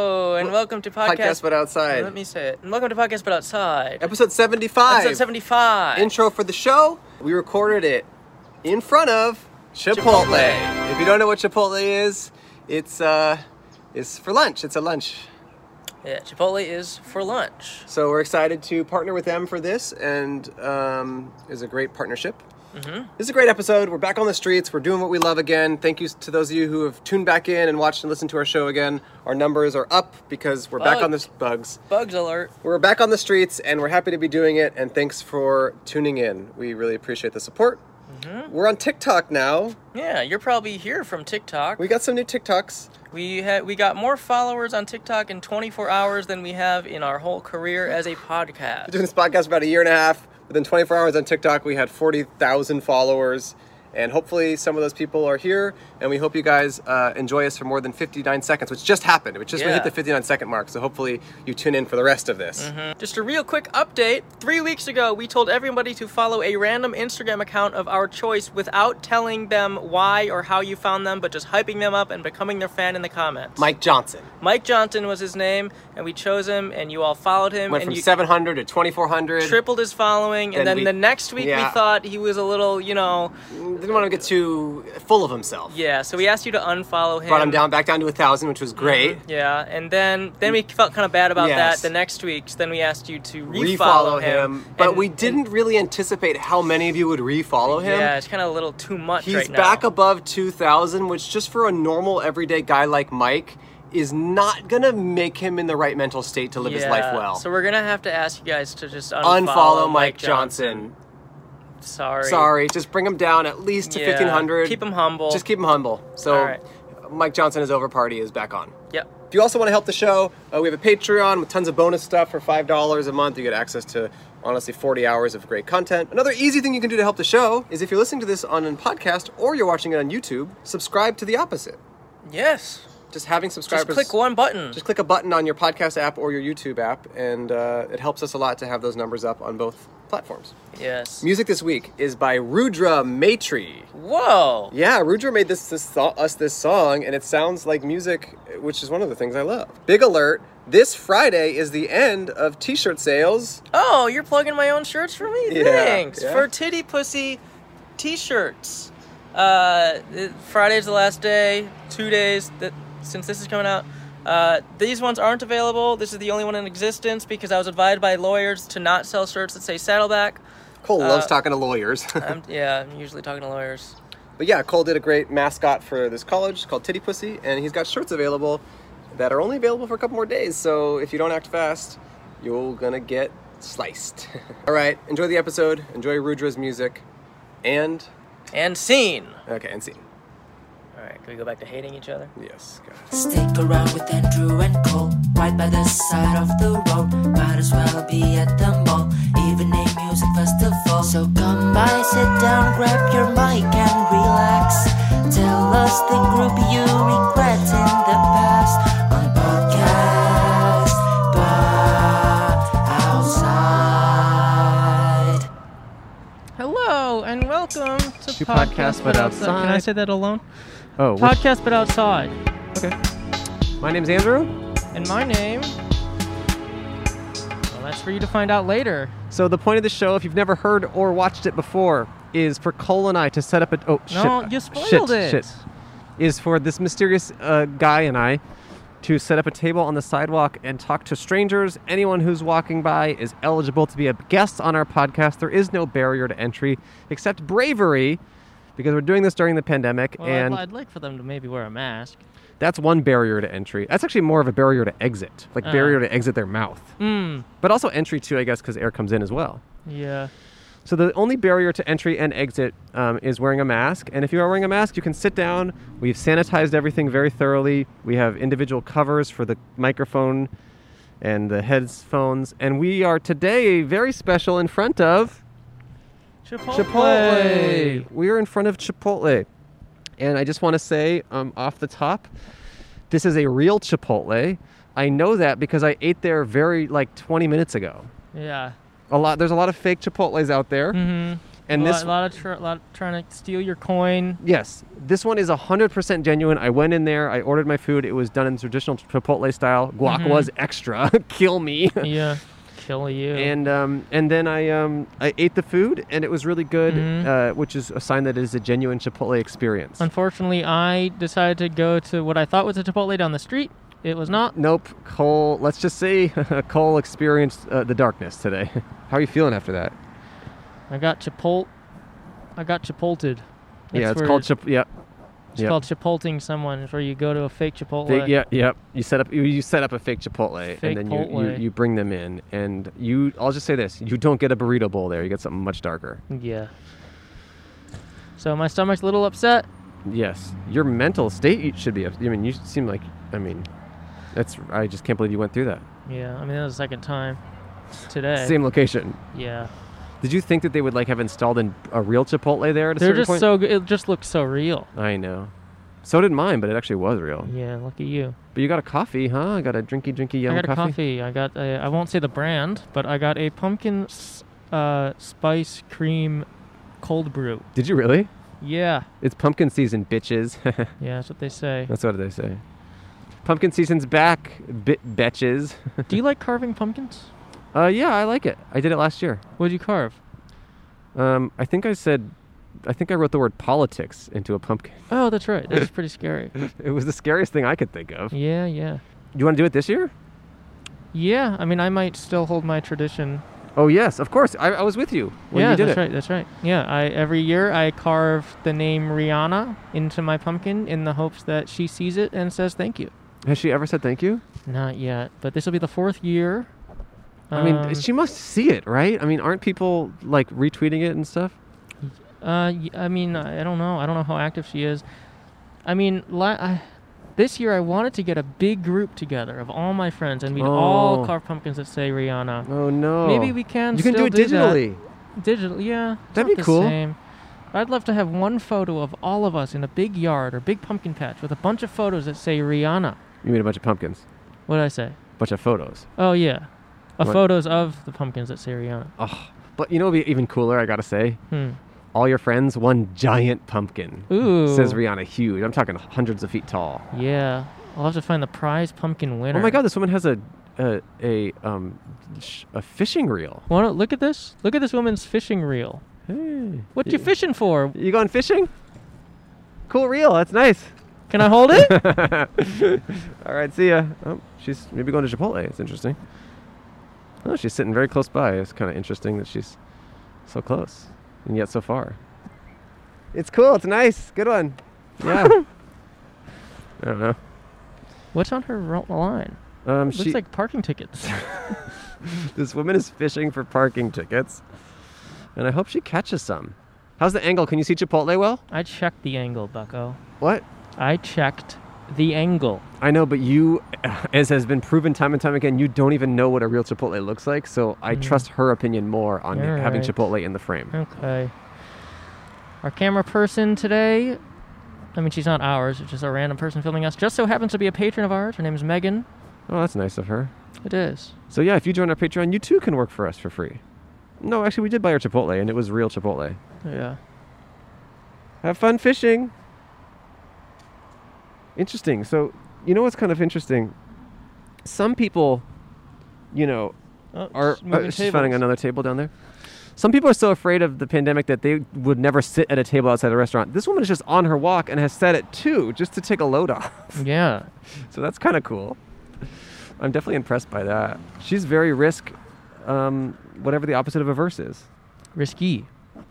welcome to podcast. Podcast But Outside. Let me say it. And welcome to podcast, but outside. Episode 75. Episode seventy-five. Intro for the show. We recorded it in front of Chipotle. Chipotle. If you don't know what Chipotle is, it's uh it's for lunch. It's a lunch. Yeah, Chipotle is for lunch. So we're excited to partner with them for this and um is a great partnership. Mm-hmm. This is a great episode. We're back on the streets. We're doing what we love again. Thank you to those of you who have tuned back in and watched and listened to our show again. Our numbers are up because we're back on the Bugs. bugs. Bugs alert. We're back on the streets and we're happy to be doing it. And thanks for tuning in. We really appreciate the support. Mm-hmm. We're on TikTok now. Yeah, you're probably here from TikTok. We We got some new TikToks. we, ha- we got more followers on TikTok in 24 hours than we have in our whole career as a podcast. We've been doing this podcast for about a year and a half. Within 24 hours on TikTok, we had 40,000 followers. And hopefully, some of those people are here. And we hope you guys uh, enjoy us for more than 59 seconds, which just happened. Which just we Yeah. hit the 59 second mark. So hopefully, you tune in for the rest of this. Just a real quick update. Three weeks ago, we told everybody to follow a random Instagram account of our choice without telling them why or how you found them, but just hyping them up and becoming their fan in the comments. Mike Johnson Mike Johnson was his name, and we chose him, and you all followed him, went and from you 700 to 2,400. tripled his following. And Then then we- the next week, yeah. we thought he was a little, you know, Didn't want to get too full of himself. yeah. So we asked you to unfollow him. Brought him down, back down to a thousand, which was great. Yeah, and then then we felt kind of bad about Yes. that the next week. So then we asked you to refollow, Refollow him, but and- we didn't really anticipate how many of you would refollow him. Yeah, it's kind of a little too much He's right now. back above 2,000, which just for a normal everyday guy like Mike is not gonna make him in the right mental state to live his life Yeah, well. So we're gonna have to ask you guys to just unfollow, Unfollow Mike, Johnson. Sorry. Sorry, just bring him down at least to Yeah, 1,500. keep him humble. Just keep him humble. So, All right. Mike Johnson is over party is back on. Yep. If you also want to help the show, uh, we have a Patreon with tons of bonus stuff for five dollars a month. You get access to honestly 40 hours of great content. Another easy thing you can do to help the show is if you're listening to this on a podcast or you're watching it on YouTube, subscribe to the opposite. Yes. Just having Just subscribers. click one button. Just click a button on your podcast app or your YouTube app, and uh, it helps us a lot to have those numbers up on both platforms. yes. Music this week is by Rudra Matri. Whoa. Yeah, Rudra made this, this so- us this song, and it sounds like music, which is one of the things I love. Big alert! This Friday is the end of T-shirt sales. Oh, you're plugging my own shirts for me? Yeah, Thanks. yeah. For Titty Pussy t shirts. Uh, th- Friday's the last day, two days that, since this is coming out. Uh, these ones aren't available. This is the only one in existence because I was advised by lawyers to not sell shirts that say Saddleback. Cole Uh, loves talking to lawyers, I'm, yeah, I'm usually talking to lawyers. but yeah, Cole did a great mascot for this college called Titty Pussy, and he's got shirts available that are only available for a couple more days. So if you don't act fast, you're gonna get sliced. All right, enjoy the episode. Enjoy Rudra's music, and And scene. okay, and see. All right, can we go back to hating each other? Yes. got it. Stick around with Andrew and Cole, right by the side of the road. Might as well be at the mall, evening music festival. So come by, sit down, grab your mic and relax. Tell us the group you regret in the past on podcast, but outside. Hello and welcome to, Podcast But Can I Outside. say that alone? Oh, which- Podcast but outside. okay. My name's Andrew. And my name. Well, that's for you to find out later. So the point of the show, if you've never heard or watched it before, is for Cole and I to set up a oh shit No, uh, you shit, spoiled it. shit. is for this mysterious uh, guy and I to set up a table on the sidewalk and talk to strangers. Anyone who's walking by is eligible to be a guest on our podcast. There is no barrier to entry except bravery, because we're doing this during the pandemic, Well, and I'd, I'd like for them to maybe wear a mask. that's one barrier to entry. That's actually more of a barrier to exit, like Uh. barrier to exit their mouth, Hmm. but also entry too, I guess, because air comes in as well. Yeah. So the only barrier to entry and exit um, is wearing a mask. And if you are wearing a mask, you can sit down. We've sanitized everything very thoroughly. We have individual covers for the microphone and the headphones. And we are today very special in front of Chipotle. Chipotle. We are in front of Chipotle. And I just want to say um, off the top, this is a real Chipotle. I know that because I ate there very like 20 minutes ago. Yeah. A lot. There's a lot of fake Chipotles out there. Mm-hmm. And a this lot, lot of tr- lot trying to steal your coin. Yes, this one is 100% genuine. I went in there, I ordered my food. It was done in traditional Chipotle style. Guac Mhm. was extra. Kill me. yeah, kill you. And um, and then I um, I ate the food and it was really good, Mhm. uh, which is a sign that it is a genuine Chipotle experience. Unfortunately, I decided to go to what I thought was a Chipotle down the street. It was not. nope, Cole. Let's just say Cole experienced uh, the darkness today. How are you feeling after that? I got Chipotle. I got Chipolted. yeah, it's where- called Chip. Yep. It's yep. called Chipolting someone. It's where you go to a fake Chipotle. They, yeah, yep. You set up you, you set up a fake Chipotle Fake and then you, you, Chipotle. you bring them in and you I'll just say this, you don't get a burrito bowl there. You get something much darker. Yeah. So my stomach's a little upset. Yes. Your mental state you should be up. I mean, you seem like I mean, that's I just can't believe you went through that. Yeah, I mean that was the second time today. Same location. Yeah, Did you think that they would like have installed in a real Chipotle there at a they're certain just point? so good. It just looks so real. I know. So did mine, but it actually was real. Yeah, look at you. But you got a coffee, huh? I got a drinky drinky I yellow got a coffee. I got a. I won't say the brand, but I got a pumpkin s- uh, spice cream cold brew. Did you really? Yeah, It's pumpkin season, bitches. yeah, that's what they say. That's what they say. Pumpkin season's back, bi- betches. Do you like carving pumpkins? uh, yeah, I like it. I did it last year. What'd you carve? Um, I think I said, I think I wrote the word politics into a pumpkin. Oh, that's right. That's pretty scary. It was the scariest thing I could think of. Yeah, yeah, You want to do it this year? yeah. I mean, I might still hold my tradition Oh yes, of course. I, I was with you when yeah, you did that's it. right. That's right. Yeah, I every year I carve the name Rihanna into my pumpkin in the hopes that she sees it and says thank you. Has she ever said thank you? Not yet, but this will be the fourth year. I mean, Um, she must see it, right? I mean, aren't people like retweeting it and stuff? uh, y- I mean, I I don't know. I don't know how active she is. I mean, la- I, this year I wanted to get a big group together of all my friends, and we'd Oh. all carve pumpkins that say Rihanna. Oh no. Maybe we can. You can do still it digitally. That. Digital, yeah. it's That'd not the be cool. same. I'd love to have one photo of all of us in a big yard or big pumpkin patch with a bunch of photos that say Rihanna. You made a bunch of pumpkins, What did I say? bunch of photos. Oh yeah, uh, What? photos of the pumpkins that say Rihanna. Oh, but you know, what'd be even cooler. I gotta say, Hmm. all your friends one giant pumpkin. Ooh. Says Rihanna, huge. I'm talking hundreds of feet tall. Yeah, I'll have to find the prize pumpkin winner. Oh my God, this woman has a a a um sh- a fishing reel. Wanna look at this? Look at this woman's fishing reel. Hey. What you fishing for? You going fishing? Cool reel. That's nice. Can I hold it? All right, see ya. Oh, she's maybe going to Chipotle. It's interesting. Oh, she's sitting very close by. It's kind of interesting that she's so close and yet so far. It's cool. It's nice. Good one. Yeah. I don't know. What's on her ro- line? Um, Looks she, like parking tickets. this woman is fishing for parking tickets, and I hope she catches some. How's the angle? Can you see Chipotle well? I checked the angle, Bucko. What? I checked the angle. I know, but you, as has been proven time and time again, you don't even know what a real Chipotle looks like. So I Mm. trust her opinion more on You're having right. Chipotle in the frame. Okay. Our camera person today, I mean, she's not ours, it's just a random person filming us, just so happens to be a patron of ours. Her name is Megan. Oh, that's nice of her. It is. So yeah, if you join our Patreon, you too can work for us for free. No, actually, we did buy her Chipotle, and it was real Chipotle. Yeah. Have fun fishing. Interesting. So, you know what's kind of interesting? Some people, you know, Oh, are she's uh, moving she's finding tables. another table down there. Some people are so afraid of the pandemic that they would never sit at a table outside a restaurant. This woman is just on her walk and has sat at two just to take a load off. Yeah. so that's kind of cool. I'm definitely impressed by that. She's very risk, um, whatever the opposite of averse is. Risky.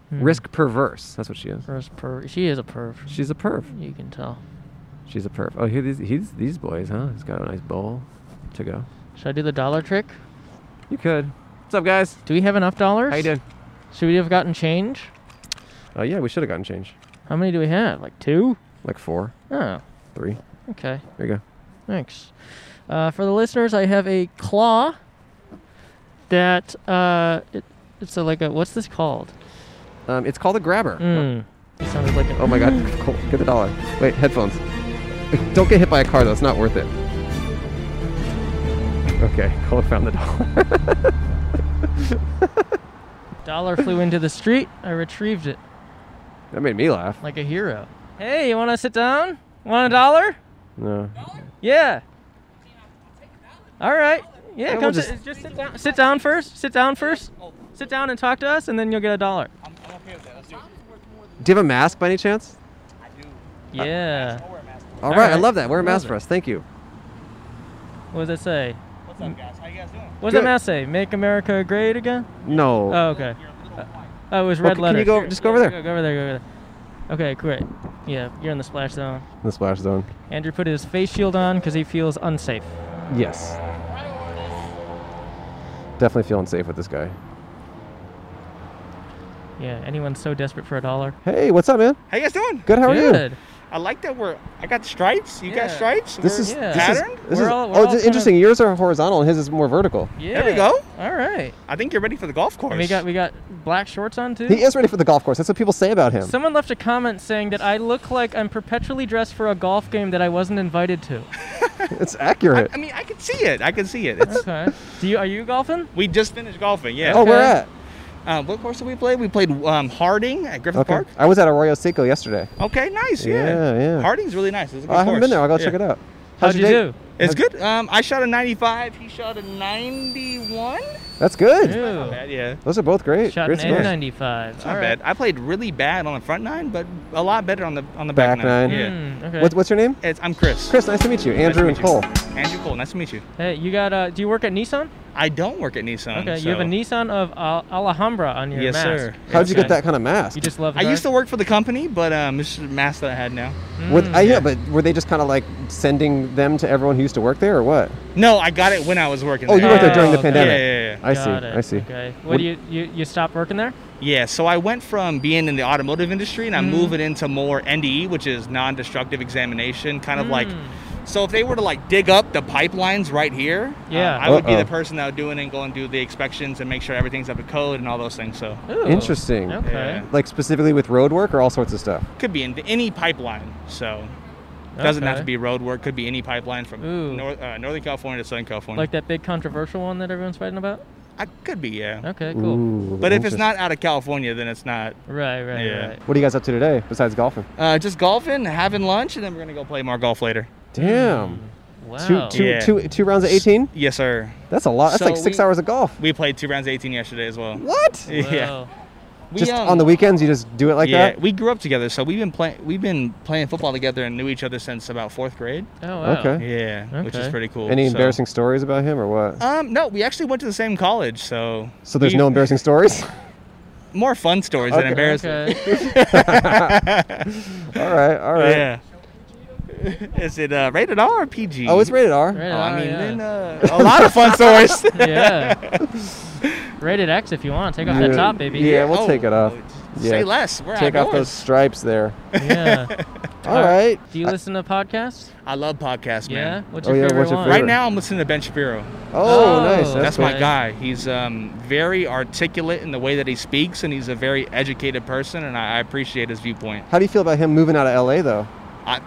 Hmm. Risk perverse. That's what she is. Or is per- she is a perv. She's a perv. You can tell. She's a perv. Oh, here these he's these boys, huh? He's got a nice bowl to go. Should I do the dollar trick? You could. What's up, guys? Do we have enough dollars? How you doing? Should we have gotten change? Oh yeah, we should have gotten change. How many do we have? Like two? Like four, Oh, three. okay. There you go. Thanks. Uh, for the listeners, I have a claw that uh, it, it's a, like a what's this called? Um, it's called a grabber. Mm. It sounded like an Oh my god, Cool. get the dollar. Wait, headphones. Don't get hit by a car though, it's not worth it. Okay, Cole found the dollar. Dollar flew into the street. I retrieved it That made me laugh. like a hero. Hey, you want to sit down? Want a dollar? No. Yeah. All right. Yeah, Yeah, come we'll sit- just- just, sit down. Sit down first. Sit down first. Sit down and talk to us, and then you'll get a dollar. Do you have a mask by any chance? Yeah. All All right, I right. love that. Wear a Love mask it. for us. Thank you. What does it say? What's up, guys? How you guys doing? What does Good. that mask say? Make America Great Again? No. Uh, Oh, okay. Oh, it was Well, red c- can letter. you go- just go over there. Go, go over there. Go over there. Okay, great. Yeah, you're in the splash zone. The splash zone. Andrew put his face shield on because he feels unsafe. Yes. Definitely feeling safe with this guy. Yeah, anyone's so desperate for a dollar. Hey, what's up, man? How you guys doing? Good. How are you? Good. I like that we're. I got stripes. You got Yeah. stripes. This We're is Yeah. this is, patterned. this We're is all- we're all oh, kind it's of- interesting. Yours are horizontal, and his is more vertical. Yeah. we go. All right. I think you're ready for the golf course. And we got we got black shorts on too. He is ready for the golf course. That's what people say about him. Someone left a comment saying that I look like I'm perpetually dressed for a golf game that I wasn't invited to. it's accurate. I mean, I can see it. I can see it. It's. Okay. Do you are you golfing? we just finished golfing. Yeah. Oh, where okay. at? Uh, what course did we play? We played um, Harding at Griffith Okay. Park. I was at Arroyo Seco yesterday. Okay, nice. Yeah. Yeah, yeah. Harding's really nice. It's a good I haven't course. been there. I'll go Yeah. check it out. How'd you your day? do? It's good. Um, I shot a 95. He shot a 91. That's good. Not bad, yeah. Those are both great. Shot an great scores. 95 Not bad. I played really bad on the front nine, but a lot better on the on the back, Back nine. Yeah. Hmm, okay. What's, what's your name? It's, I'm Chris. Chris, nice to meet you. Andrew and meet you. Cole. Andrew Cole. Nice to meet you. hey, you got uh do you work at Nissan? I don't work at Nissan. Okay, you have a so- Nissan of Al- Alhambra on your Yes, mask. sir. How'd you get Okay. that kind of mask? You just love I used to work for the company, but um, this is the mask that I had now. With, mm. I, yeah, but were they just kind of like sending them to everyone who used to work there, or what? No, I got it when I was working. Oh, you there. worked there during the okay. pandemic. Yeah, yeah, yeah. I see. I see. Okay. What, What- do you, you you stopped working there? Yeah, so I went from being in the automotive industry Mm. and I'm moving into more NDE, which is non-destructive examination, kind of Mm. like. So if they were to like dig up the pipelines right here, uh, Yeah. I would be Uh-oh. the person that would do it and go and do the inspections and make sure everything's up to code and all those things. So Ooh. Interesting. Okay. Yeah. Like specifically with road work or all sorts of stuff. could be in any pipeline. So doesn't have to Okay. be road work. Could be any pipeline from Ooh. north, uh, northern California to southern California. Like that big controversial one that everyone's fighting about? I could be, yeah. Okay, cool. Ooh, But if it's interest- not out of California, then it's not. Right, right, Yeah. right. what are you guys up to today besides golfing? Uh, just golfing, having lunch, and then we're gonna go play more golf later. Damn. Wow. Two, two, Yeah. two, two rounds of 18. Yes, sir. That's a lot. That's So like six we- hours of golf. We played two rounds of 18 yesterday as well. What? Yeah. Wow. We, just um, on the weekends, you just do it like yeah, that. we grew up together, so we've been playing. We've been playing football together and knew each other since about fourth grade. Oh, wow. Okay. Yeah, which is Okay. pretty cool. Any so- embarrassing stories about him or what? Um, no, we actually went to the same college, so. so there's we- no embarrassing stories. More fun stories Okay. than embarrassing. Okay. all right. All right. Yeah. is it uh, rated R or PG? Oh, it's rated R. Rated Oh, I R, mean, yeah. then, uh, a lot of fun stories. yeah. Rated X if you want. Take off Yeah. that top, baby. Yeah, we'll Oh, take it off. Yeah. Say less. We're Take off those outdoors. stripes there. Yeah. All right. Do you listen to podcasts? I love podcasts, Yeah. man. What's Oh, your yeah, favorite what's your one? favorite? Right now, I'm listening to Ben Shapiro. Oh, Oh, nice. That's, That's That's cool. my good. guy. He's um, very articulate in the way that he speaks, and he's a very educated person, and I, I appreciate his viewpoint. How do you feel about him moving out of LA though? I,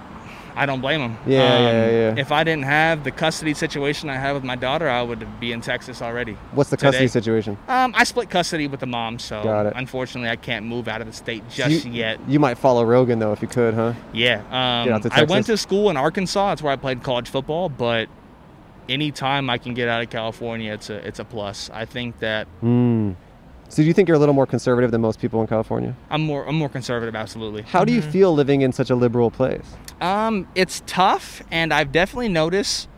I don't blame him. Um, Yeah, yeah, yeah. If I didn't have the custody situation I have with my daughter, I would be in Texas already. What's the Today. custody situation? Um, I split custody with the mom, so Got it. unfortunately, I can't move out of the state So just you, yet. You might follow Rogan though if you could, huh? Yeah. Get Um, out to I went to Texas. school in Arkansas. That's where I played college football. But anytime I can get out of California, it's a it's a plus. I think that Hmm. So do you think you're a little more conservative than most people in California? I'm more I'm more conservative. Absolutely. How do you feel living in such a liberal place? Um, it's tough, and I've definitely noticed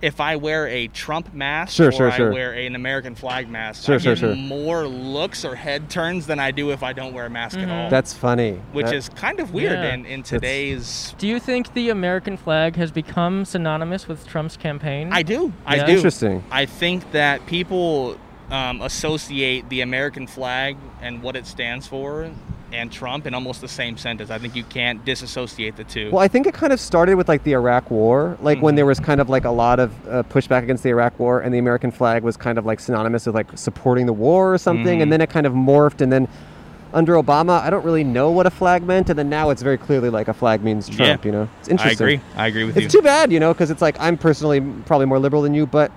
if I wear a Trump mask Sure, or sure, I sure. wear an American flag mask, Sure, I sure, get sure. more looks or head turns than I do if I don't wear a mask at all. That's funny. which That- is kind of weird Yeah. in, in today's. Do you think the American flag has become synonymous with Trump's campaign? I do. I Yeah. do. Interesting. I think that people um, associate the American flag and what it stands for and Trump in almost the same sentence. I think you can't disassociate the two. Well, I think it kind of started with like the Iraq War, like Mm-hmm. when there was kind of like a lot of uh, pushback against the Iraq War, and the American flag was kind of like synonymous with like supporting the war or something, Mm-hmm. and then it kind of morphed, and then under Obama, I don't really know what a flag meant, and then now it's very clearly like a flag means Yeah. Trump. You know, it's I interesting. agree. I agree with It's you. too bad, you know, because it's like I'm personally probably more liberal than you, but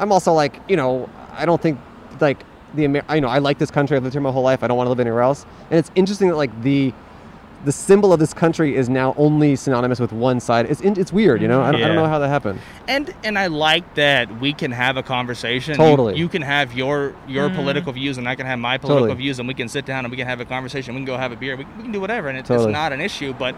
I'm also like, you know, I don't think like the Amer- I know I like this country. I've lived here my whole life. I don't want to live anywhere else. And it's interesting that like the the symbol of this country is now only synonymous with one side. It's in, it's weird, you know. I don't, I don't Yeah. know how that happened. and and I like that we can have a conversation. You- Totally. you, can have your your political views, and I can have my political Totally. views, and we can sit down and we can have a conversation. We can go have a beer. We, we can do whatever, and it, Totally. it's not an issue. But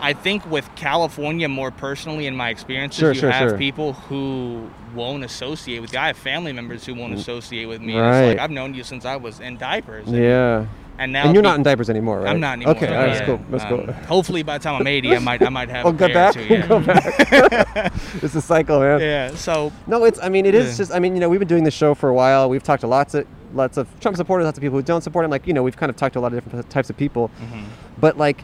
I think with California, more personally, in my experiences, Sure, you sure, have sure. people who won't associate with you. I have family members who won't associate with me. It's Mm. Right. like I've known you since I was in diapers, Yeah. and now And you're be- not in diapers anymore, right? I'm not anymore. Okay, all right, that's yeah. cool. That's Um, cool. Hopefully, by the time I'm 80, I might I might have. We'll a go pair back. Or two, We'll yeah. go back. it's a cycle, man. yeah. So No, it's. I mean, it is Yeah. just. I mean, you know, we've been doing this show for a while. We've talked to lots of lots of Trump supporters, lots of people who don't support him. Like, you know, we've kind of talked to a lot of different types of people. Mm-hmm. But like,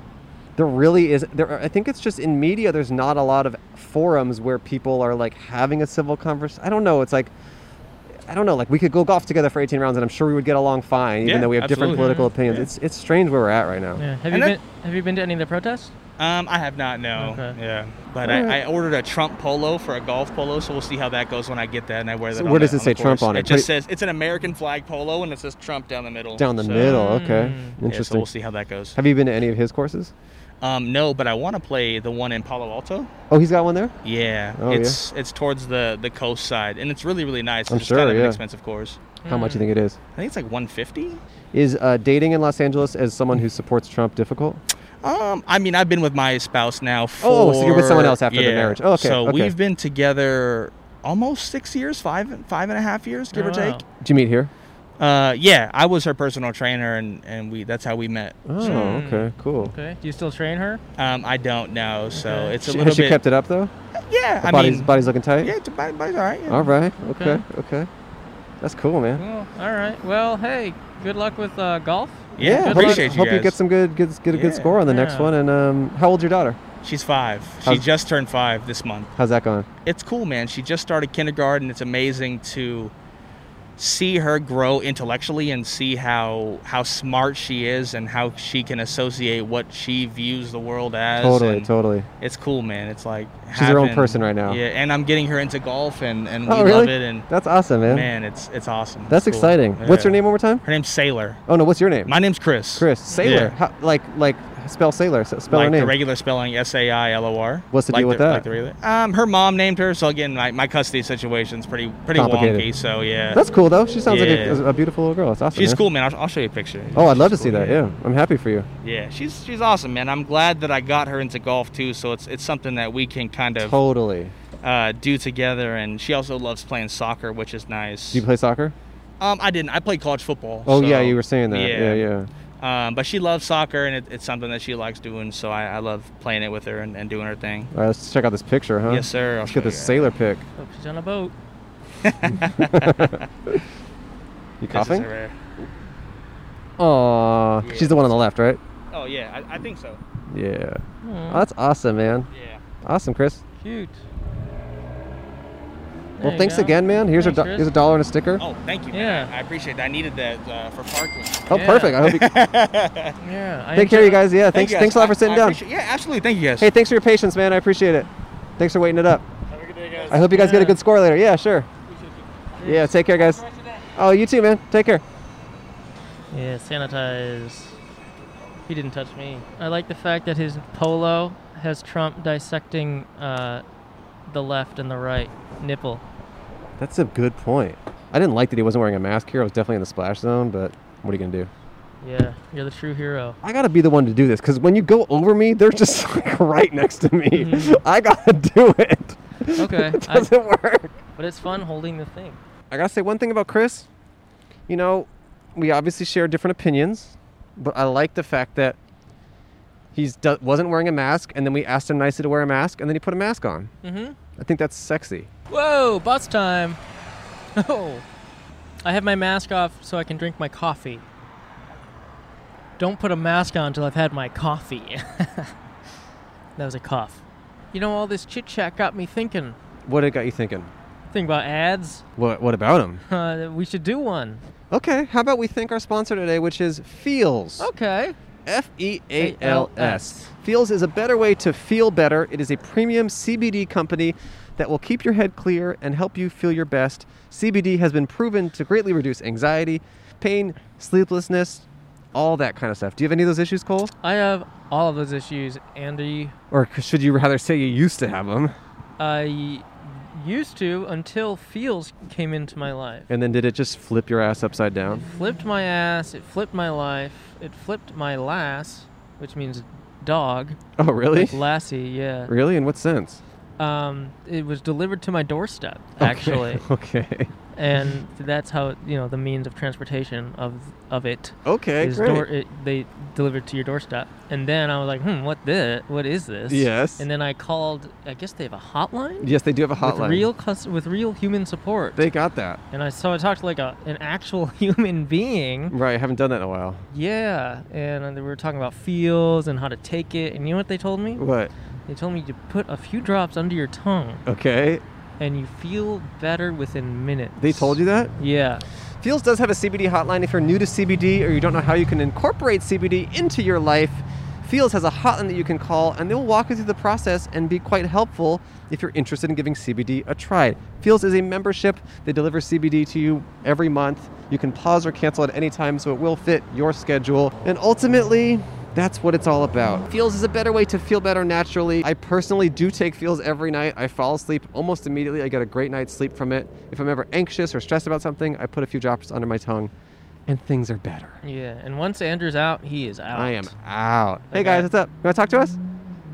there really is. There, are, I think it's just in media. There's not a lot of forums where people are like having a civil conversation. I don't know. It's like. I don't know. Like we could go golf together for 18 rounds, and I'm sure we would get along fine, even Yeah, though we have different absolutely. political opinions. Yeah. It's it's strange where we're at right now. Yeah. Have And you that- been? Have you been to any of the protests? Um, I have not, no. Okay. Yeah. But Alright. I, I ordered a Trump polo for a golf polo, so we'll see how that goes when I get that and I wear that. So on what the- does it on the say, Trump, course. on it? It Put just it- says it's an American flag polo and it says Trump down the middle. Down the so- middle. Okay, Mm. Yeah, so interesting. we'll see how that goes. have you been to any of his courses? Um, no, but I want to play the one in Palo Alto. Oh, he's got one there. Yeah, Oh, yeah. it's it's towards the the coast side, and it's really really nice. I'm it's kind sure, of yeah. an expensive course. How much do you think it is? I think it's like 150. Is uh, dating in Los Angeles as someone who supports Trump difficult? Um, I mean, I've been with my spouse now for. Oh, so you're with someone else after the marriage. Oh, okay, So okay. we've been together almost six years, five five and a half years, give Oh, or wow. take. Did you meet here? Uh, yeah, I was her personal trainer, and and we that's how we met. Oh, Hmm. okay, cool. Okay. Do you still train her? Um, I don't know, so Okay. it's a She, little has she bit. kept it up though? yeah, I body's, mean, body's looking tight. yeah, it's body, body's all right. Yeah. All right. Okay. Okay. Okay. That's cool, man. Well, all right. Well, hey, good luck with uh, golf. Yeah, Good hope appreciate you. you Hope you guys. get some good, good, get a good Yeah, score on the next yeah. one. And um, how old's your daughter? She's five. She How's- just turned five this month. How's that going? It's cool, man. She just started kindergarten. It's amazing to see her grow intellectually and see how how smart she is and how she can associate what she views the world as. Totally, and totally. It's cool, man. It's like She's her own having- person right now. Yeah, and I'm getting her into golf, and and we oh, really? love it. And That's awesome, man. man, it's it's awesome. That's It's cool. exciting. What's Yeah. her name one more time? Her name's Sailor. Oh no, what's your name? My name's Chris. Chris Sailor. Yeah. How, like, like spell Sailor. s- Spell Like her the name. regular spelling, S A I L O R. What's the like deal with the, that? Like the regular. Um, her mom named her, so again, my, my custody situation's pretty pretty Complicated. wonky. So yeah, That's cool though. She sounds like a, Yeah. a beautiful little girl. That's awesome. she's man. cool, man. I'll, I'll show you a picture. Oh, I'd love to She's see cool, that. Yeah, I'm happy for you. yeah, she's she's awesome, man. I'm glad that I got her into golf too. So it's it's something that we can kind of Totally. uh, do together. And she also loves playing soccer, which is nice. Do you play soccer? Um, I didn't. I played college football. Oh so- yeah, you were saying that. Yeah, yeah. Um, but she loves soccer, and it, it's something that she likes doing. So I, I love playing it with her and, and doing her thing. All right, let's check out this picture, huh? Yes, sir. I'll Let's get show this you. sailor pic. Hope Oh, she's on a boat. You This is coughing? her- Aw, Yeah. she's the one on the left, right? Oh yeah, I, I think so. Yeah. Aw, Oh, that's awesome, man. Yeah. Awesome, Chris. cute. There Well, you thanks go. again, man. Here's Thanks, a do- Chris. here's a dollar and a sticker. Oh, Oh, thank you. Yeah. Man. I appreciate that. I needed that uh, for parking. Yeah. Oh, perfect. I hope you Yeah. I take care, enjoy- you guys. Yeah, thanks. you guys. thanks a lot I- for sitting I down. appreciate- Yeah, absolutely. Thank you guys. Hey, thanks for your patience, man. I appreciate it. Thanks for waiting it up. Have a good day, guys. I hope you guys get a Yeah. good score later. Yeah, sure. Yeah, take care, guys. Oh, you too, man. Take care. Yeah, sanitize. He didn't touch me. I like the fact that his polo has Trump dissecting uh, the left and the right nipple. That's a good point. I didn't like that he wasn't wearing a mask here. I was definitely in the splash zone, but what are you gonna do? Yeah, you're the true hero. I gotta be the one to do this because when you go over me, they're just like right next to me. I gotta do it. Okay, it I- doesn't work. But it's fun holding the thing. I gotta say one thing about Chris. You know, we obviously share different opinions, but I like the fact that he's do- wasn't wearing a mask, and then we asked him nicely to wear a mask, and then he put a mask on. Mm-hmm. I think that's sexy. Whoa, boss time. Oh. I have my mask off so I can drink my coffee. Don't put a mask on until I've had my coffee. that was a cough. You know, all this chit chat got me thinking. What it got you thinking? Think about ads. What What about him? Uh, we should do one. Okay, how about we thank our sponsor today, which is Feels. Okay. F E A L S. A-L-S. Feels is a better way to feel better. It is a premium CBD company that will keep your head clear and help you feel your best. CBD has been proven to greatly reduce anxiety, pain, sleeplessness, all that kind of stuff. Do you have any of those issues, Cole? I have all of those issues, Andy. Or should you rather say you used to have them? I used to until feels came into my life. And then did it just flip your ass upside down? Flipped my ass. It flipped my life. It flipped my lass, which means dog. Oh, really? Like Lassie, yeah. Really? In what sense? Um, it was delivered to my doorstep, actually, Okay. Okay. and that's how you know the means of transportation of of it Okay. is great. door, it, they delivered to your doorstep. And then I was like, hmm, what the? What is this? Yes. And then I called. I guess they have a hotline. yes, they do have a hotline. With real cus- with real human support. They got that. and I so I talked to like a, an actual human being. Right. I haven't done that in a while. Yeah. And we were talking about feels and how to take it. And you know what they told me? What? They told me to put a few drops under your tongue, Okay. and you feel better within minutes. They told you that? Yeah. Feels does have a CBD hotline if you're new to CBD or you don't know how you can incorporate CBD into your life. Feels has a hotline that you can call and they'll walk you through the process and be quite helpful if you're interested in giving CBD a try. Feels is a membership. They deliver CBD to you every month. You can pause or cancel at any time so it will fit your schedule. And ultimately, that's what it's all about. Feels is a better way to feel better naturally. I personally do take feels every night. I fall asleep almost immediately. I get a great night's sleep from it. If I'm ever anxious or stressed about something, I put a few drops under my tongue and things are better. Yeah. And once Andrew's out, he is out. I am out. Hey Okay. guys, what's up? You want to talk to us?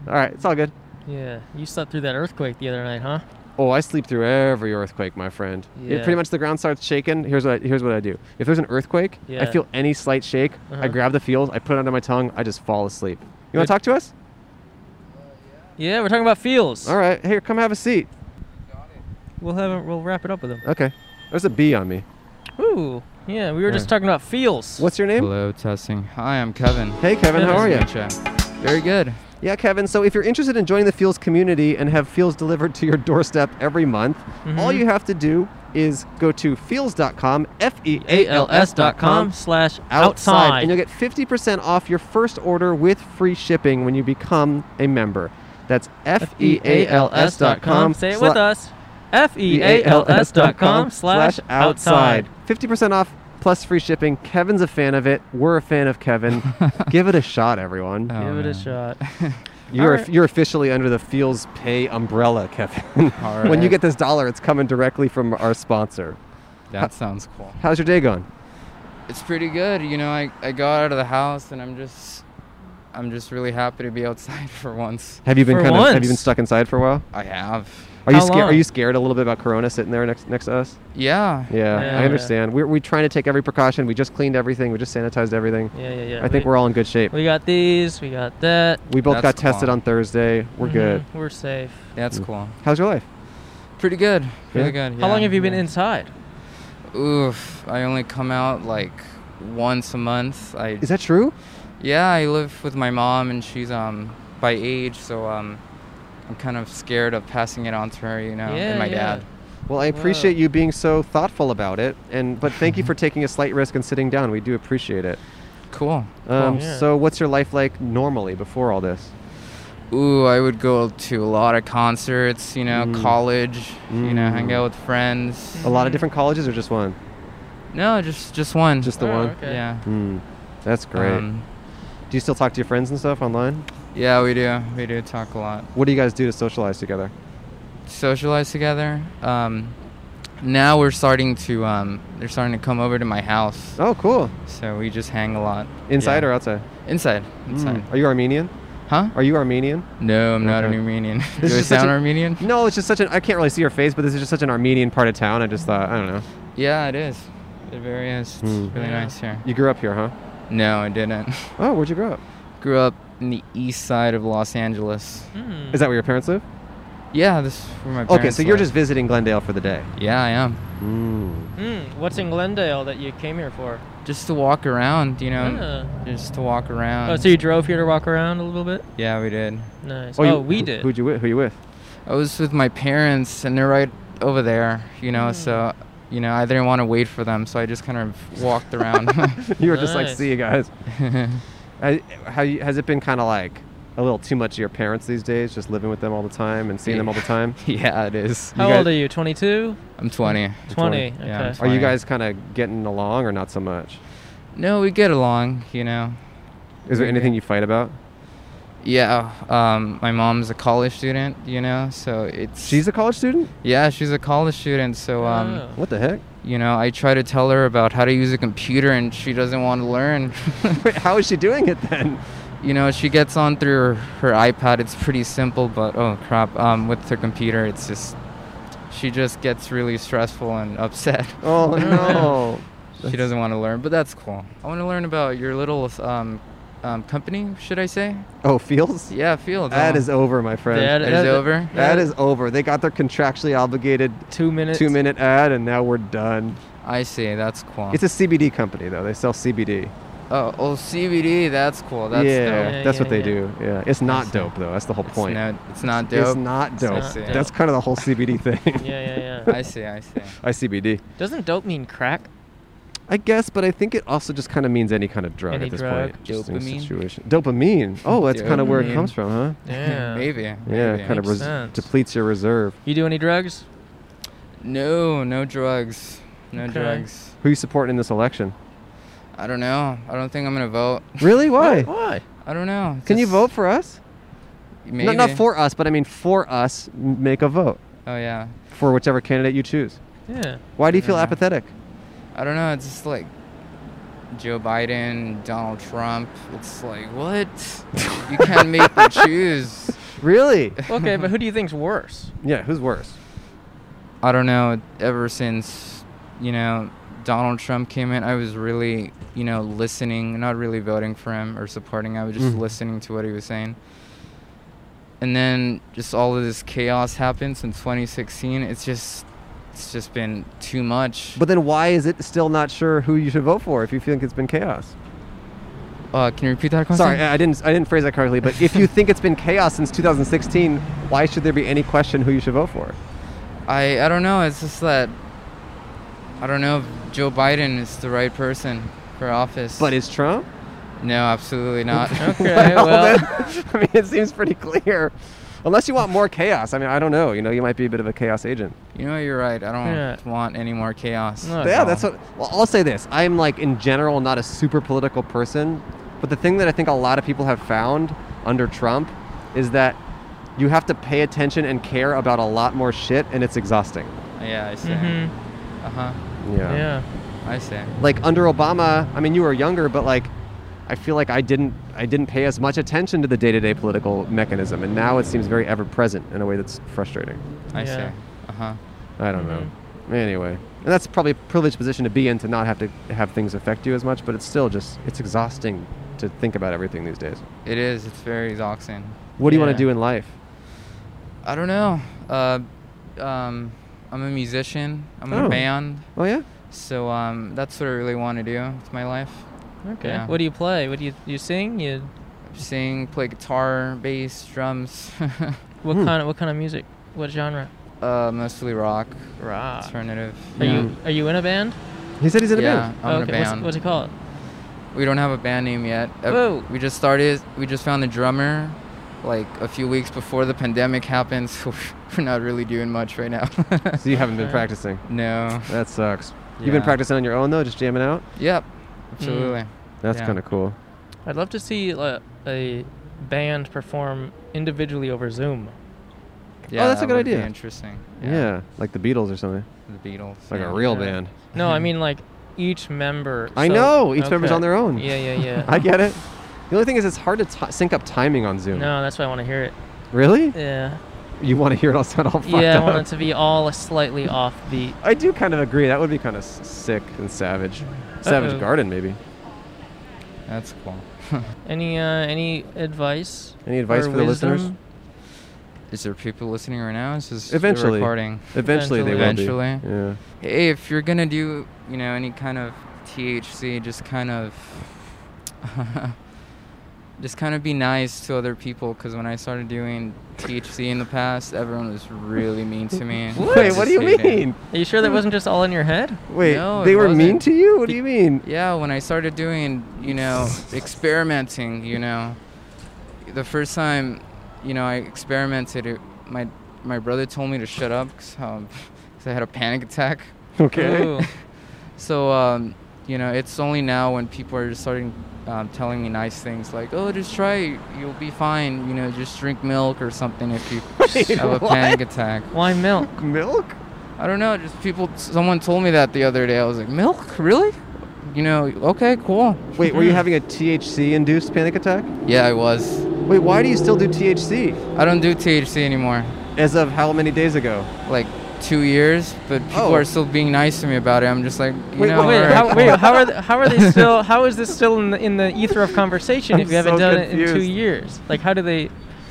All right, it's all good. Yeah. You slept through that earthquake the other night, huh? Oh, I sleep through every earthquake, my friend. It- Yeah. pretty much the ground starts shaking. Here's what I, here's what I do. If there's an earthquake, I Yeah. feel any slight shake. I Uh-huh. grab the feels, I put it under my tongue, I just fall asleep. You want Good. to talk to us? Yeah. We're talking about feels. All right, here, come have a seat. We'll have a, we'll wrap it up with him. Okay. There's a bee on me. Ooh. Yeah. We were just talking about feels. What's your name? Hello, testing. Hi, I'm Kevin. Hey, Kevin, how Kevin. are you? Nice to meet ya. Very good. Yeah, Kevin. So, if you're interested in joining the Feels community and have Feels delivered to your doorstep every month, all you have to do is go to feels.com, F E A L S dot com ALS.com slash outside, outside. and you'll get 50% off your first order with free shipping when you become a member. That's F E A L S dot com. Say it with us. F E A L S dot com E slash outside. 50% off plus free shipping. Kevin's a fan of it. We're a fan of Kevin. Give it a shot, everyone. Oh, Give it a man. shot. You're Alright. you're officially under the Feels Pay umbrella, Kevin. when you Alright. get this dollar, it's coming directly from our sponsor. That sounds cool. How's your day going? It's pretty good. You know, I, I got out of the house and I'm just I'm just really happy to be outside for once. Have you been For kind of have you been once. stuck inside for a while? I have. Are you How scared? Are long? you scared a little bit about Corona sitting there next next to us? Yeah. Yeah, Yeah. I understand. We're, we're trying to take every precaution. We just cleaned everything. We just sanitized everything. Yeah, yeah, yeah. I think we, we're all in good shape. We got these. We got that. We both got That's tested cool. on Thursday. We're Mhm, good. We're safe. That's cool. How's your life? Pretty good. Really good. How long yeah, have you been yeah. inside? Oof. I only come out like once a month. I Is that true? Yeah, I live with my mom and she's um by age, so um I'm kind of scared of passing it on to her, you know, Yeah, and my yeah. dad. Well, I appreciate you being so thoughtful about it, and but thank you for taking a slight risk and sitting down. We do appreciate it. Cool. Um, yeah. So, what's your life like normally before all this? Ooh, I would go to a lot of concerts, you know, Mm. college, you know, hang Mm. out with friends. A lot of different colleges, or just one? No, just just one. Just the Oh, one. okay. yeah. Hmm. That's great. Um, do you still talk to your friends and stuff online? yeah, we do. We do talk a lot. What do you guys do to socialize together? Socialize together. Um, now we're starting to um, they're starting to come over to my house, Oh, cool. so we just hang a lot. Inside Yeah. or outside? inside? Hmm. Inside. Are you Armenian? Huh? Are you Armenian? No, I'm not an Okay. Armenian. Do I This is such sound a- Armenian? No, it's just such an. I can't really see your face, but this is just such an Armenian part of town. I just thought, I don't know. Yeah, it is. It very is. It's Hmm. really Yeah. nice here. You grew up here, huh? No, I didn't. Oh, where'd you grow up? Grew up in the east side of Los Angeles. Hmm. Is that where your parents live? Yeah, this is where my Okay, parents so you're live. just visiting Glendale for the day. Yeah, I am. Hmm, What's in Glendale that you came here for? Just to walk around, you know. Yeah. Just to walk around. Um, Oh, so you drove here to walk around a little bit? yeah, we did. Nice. you- Oh, we who- did. Who'd you with? Who you with? I was with my parents, and they're right over there, you Hmm. know. So, you know, I didn't want to wait for them, so I just kind of walked around. you were just like, Nice. see you guys. I, how you, has it been kind of like a little too much of your parents these days, just living with them all the time and seeing them all the time? yeah, it is. How guys- old are you? 22? I'm 20. 20. 20. Okay. Yeah, I'm Are you Fine. guys kind of getting along or not so much? No, we get along, you know. Is there We- anything you fight about? Yeah, um, my mom's a college student, you know, so it's. She's a college student? Yeah, she's a college student, so um, Oh. What the heck? you know, I try to tell her about how to use a computer, and she doesn't want to learn. Wait, how is she doing it then? you know, she gets on through her, her iPad. It's pretty simple, but oh crap, um, with her computer, it's just she just gets really stressful and upset. Oh no. she doesn't want to learn, but that's cool. I want to learn about your little um, um, company, should I say? Oh, feels? Yeah, um, Fields. That huh? is over, my friend. Yeah, That is over. that is over. They got their contractually obligated Two minutes. two minute ad and now we're done. I see. That's cool. It's a CBD company though. They sell CBD. oh, oh, CBD. That's cool. That's yeah, dope. Yeah, that's what yeah, they yeah. do. Yeah, it's see. not dope though. That's the whole point. It's not, it's not dope. It's not dope. not dope. That's kind of the whole CBD thing. Yeah, yeah, yeah. I see. I see. I CBD. Doesn't dope mean crack? I guess, but I think it also just kind of means any kind of drug Any at this drug. point. Just in Dopamine. Situation. Dopamine. Oh, that's kind of where it Dopamine. comes from, huh? Yeah. Maybe. Yeah, maybe. kind of Makes sense. depletes your reserve. You do any drugs? No, no drugs. No Okay. drugs. Who you supporting in this election? I don't know. I don't think I'm gonna vote. Really? Why? Why? I don't know. Can you Just- vote for us? Maybe. No, not for us, but I mean for us. m- Make a vote Oh yeah. for whichever candidate you choose. Yeah. Why do you feel Yeah. apathetic? I don't know. It's just like Joe Biden, Donald Trump. It's like what? you can't make them choose. Really? Okay, but who do you think's worse? yeah. Who's worse? I don't know. Ever since you know Donald Trump came in, I was really you know listening, not really voting for him or supporting. I was just Mhm. listening to what he was saying. And then just all of this chaos happened since 2016. It's just it's just been too much. But then why is it still not sure who you should vote for if you think it's been chaos? uh, can you repeat that question? Sorry, I I didn't I didn't phrase that correctly. But if you think it's been chaos since 2016, why should there be any question who you should vote for? I I don't know. It's just that I don't know if Joe Biden is the right person for office. But is Trump? no, absolutely not. Okay, Uh, well, then- I mean, it seems pretty clear. Unless you want more chaos. I mean, I don't know. You know, you might be a bit of a chaos agent. You know, you're right. I don't Yeah. want any more chaos. No. But yeah, that's what. Well, I'll say this. I'm like in general not a super political person, but the thing that I think a lot of people have found under Trump is that you have to pay attention and care about a lot more shit, and it's exhausting. Yeah, I see. Mm-hmm. Uh huh. Yeah. I see. like under Obama, I mean you were younger, but like I feel like I didn't I didn't pay as much attention to the day-to-day political mechanism and now it seems very ever present in a way that's frustrating. I Yeah. see. Uh huh. I don't know. Anyway, and that's probably a privileged position to be in to not have to have things affect you as much, but it's still just it's exhausting to think about everything these days. It is. It's very exhausting. What do you want Yeah. to do in life? I don't know. Uh, um, I'm a musician. I'm in Oh. a band. Oh yeah? So um, that's what I really want to do with my life. Okay. Yeah. What do you play? What do you you sing? You Sing, play guitar, bass, drums. what Hmm. kind of what kind of music? What genre? uh, mostly rock, Rock. alternative. Uh, Are yeah. you are you in a band? Oh, He said he's in a yeah, band. I'm okay. in a what's- band. What's, it called? We don't have a band name yet. Uh, Whoa. We just started. We just found the drummer, like a few weeks before the pandemic happened. So we're not really doing much right now. So you haven't been Okay. practicing. no. That sucks. You've been Yeah. practicing on your own though, just jamming out? Yep. Mm. Absolutely. That's Yeah. kind of cool. I'd love to see uh, a band perform individually over Zoom. Yeah. that's a that good would be idea. interesting. Yeah. like the Beatles or something. The Beatles. Like yeah. a real Yeah. band. No, I mean like each member. Mm-hmm. I so- know, each member's on their own. Yeah, yeah, yeah. I get it. The only thing is, it's hard to t- sync up timing on Zoom. no, that's why I want to hear it. Really? Yeah. You want to hear it all sound all fucked yeah, I up? want it to be all slightly offbeat. I do kind of agree. That would be kind of s- sick and savage. Savage Uh-oh. Garden, maybe. That's cool. Any uh, any advice? Any advice or for the wisdom? listeners? Is there people listening right now? Is this the Eventually. recording? Eventually, they Eventually. will be. Yeah. Hey, if you're gonna do, you know, any kind of THC, just kind of, just kind of be nice to other people. Because when I started doing THC in the past, everyone was really mean to me. Wait, what do you Just hated. mean? Are you sure that wasn't just all in your head? Wait, No, they it were mean wasn't. to you? What do you mean? Yeah, when I started doing, you know, experimenting, you know, the first time, you know, I experimented. It, my my brother told me to shut up because I had a panic attack. Okay. Ooh. So um, you know, it's only now when people are just starting um, telling me nice things like, "Oh, just try, it. you'll be fine." You know, just drink milk or something if you have a panic attack. Why milk? Milk? I don't know. Just people. Someone told me that the other day. I was like, "Milk, really?" You know, okay, cool. Wait, were you having a THC induced panic attack? Yeah, I was. Wait, why do you still do THC? I don't do THC anymore. As of how many days ago? Like two years, but people Oh. are still being nice to me about it. I'm just like, you Wait, know, wait, alright, how, cool. wait, how are th- how are they still? How is this still in the in the ether of conversation I'm if you haven't so done it in two confused. years? Like, how do they?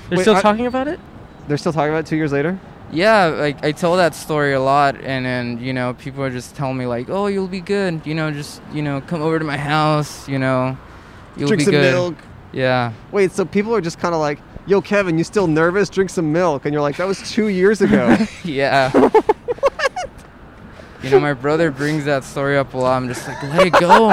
They're Wait, still I- talking about it. They're still talking about it two years later? Yeah, like I tell that story a lot, and then you know people are just telling me like, "Oh, you'll be good," you know, just you know, come over to my house, you know, you'll Drink be some good. milk. Yeah, Wait, so people are just kind of like, yo, Kevin, you still nervous? Drink some milk. And you're like, that was two years ago. yeah. You know, my brother brings that story up a lot. I'm just like, let it go.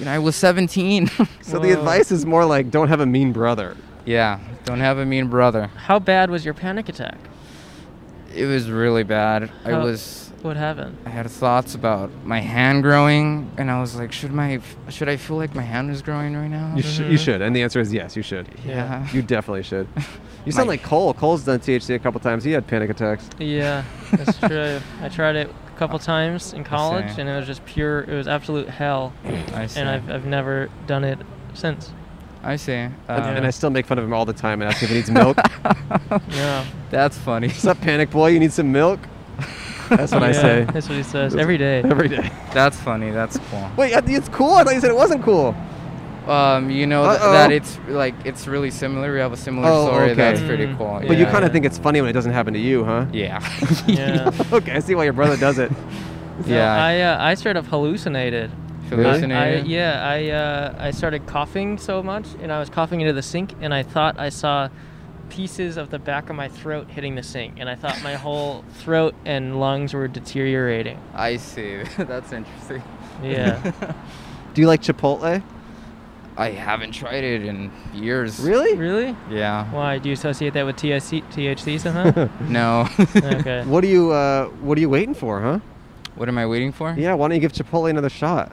you know, I was 17. so the advice is more like, don't have a mean brother. yeah, don't have a mean brother. How bad was your panic attack? It was really bad. I How- was What happened? I had thoughts about my hand growing, and I was like, should my should I feel like my hand is growing right now? You, sh- you should. And the answer is yes, you should. yeah. You definitely should. You sound My- like Cole. Cole's done THC a couple times. He had panic attacks. Yeah, that's true. I tried it a couple times in college, see. and it was just pure. It was absolute hell, I see. and I've I've never done it since. I see. Um, And I still make fun of him all the time and ask if he needs milk. Yeah. that's funny. What's up, panic boy? You need some milk? That's what I Yeah, say That's what he says every day. every day. That's funny. That's cool. Wait, I think it's cool. I thought you said it wasn't cool. Um, you know th- Uh-oh. that it's like it's really similar. We have a similar Oh, story. okay. That's pretty Mm, cool. But you yeah. kind of think it's funny when it doesn't happen to you, huh? Yeah. Yeah. okay, I see why your brother does it. No, yeah. I uh, I straight up hallucinated. Really? I, Hallucinated. yeah, I uh, I started coughing so much, and I was coughing into the sink, and I thought I saw pieces of the back of my throat hitting the sink, and I thought my whole throat and lungs were deteriorating. I see. that's interesting. Yeah, Do you like Chipotle? I haven't tried it in years. Really? really? Yeah. Why do you associate that with THC, THC somehow? No. okay. What are you uh, What are you waiting for, huh? what am I waiting for? Yeah, why don't you give Chipotle another shot?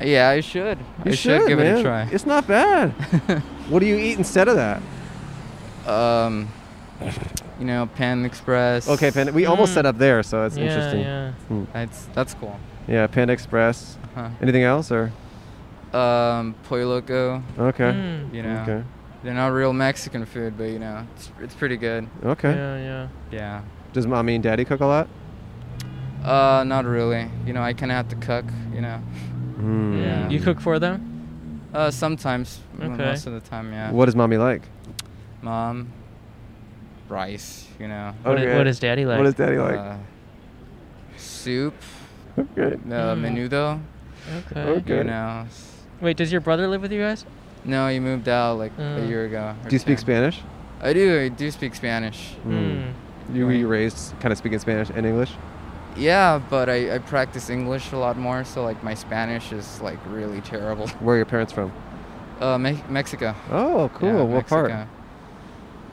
Yeah, I should. You I should, give man. it a try. It's not bad. what do you eat instead of that? um, you know, Pan Express. Okay, Panda. We almost Mm. set up there, so that's yeah, interesting. Yeah. yeah. That's that's cool. Panda Express. Huh. Anything else or? Um, Pollo Loco. Okay. Mm, You know, Okay. they're not real Mexican food, but you know, it's it's pretty good. Okay. yeah, yeah. Yeah. Does mommy and daddy cook a lot? Uh, not really. You know, I kind of have to cook. You know, Mm. Yeah. You cook for them? uh, sometimes, m- Okay. most of the time, yeah. What does mommy like? Mom, rice. You know, What, i- Okay. what does daddy like? Oh, What does daddy like? uh, soup, okay. uh, Mm. menudo. okay. okay. You know, s- Wait, does your brother live with you guys? no, he moved out like a Mm. year ago. or Do you speak two. Spanish? I do. I do speak Spanish. Mm. Hmm. You were Right. you raised kind of speaking Spanish and English? Yeah, but I, I practice English a lot more, so like my Spanish is like really terrible. Where are your parents from? Uh, Me- Mexico. Oh, cool. Yeah, what part? Mexico.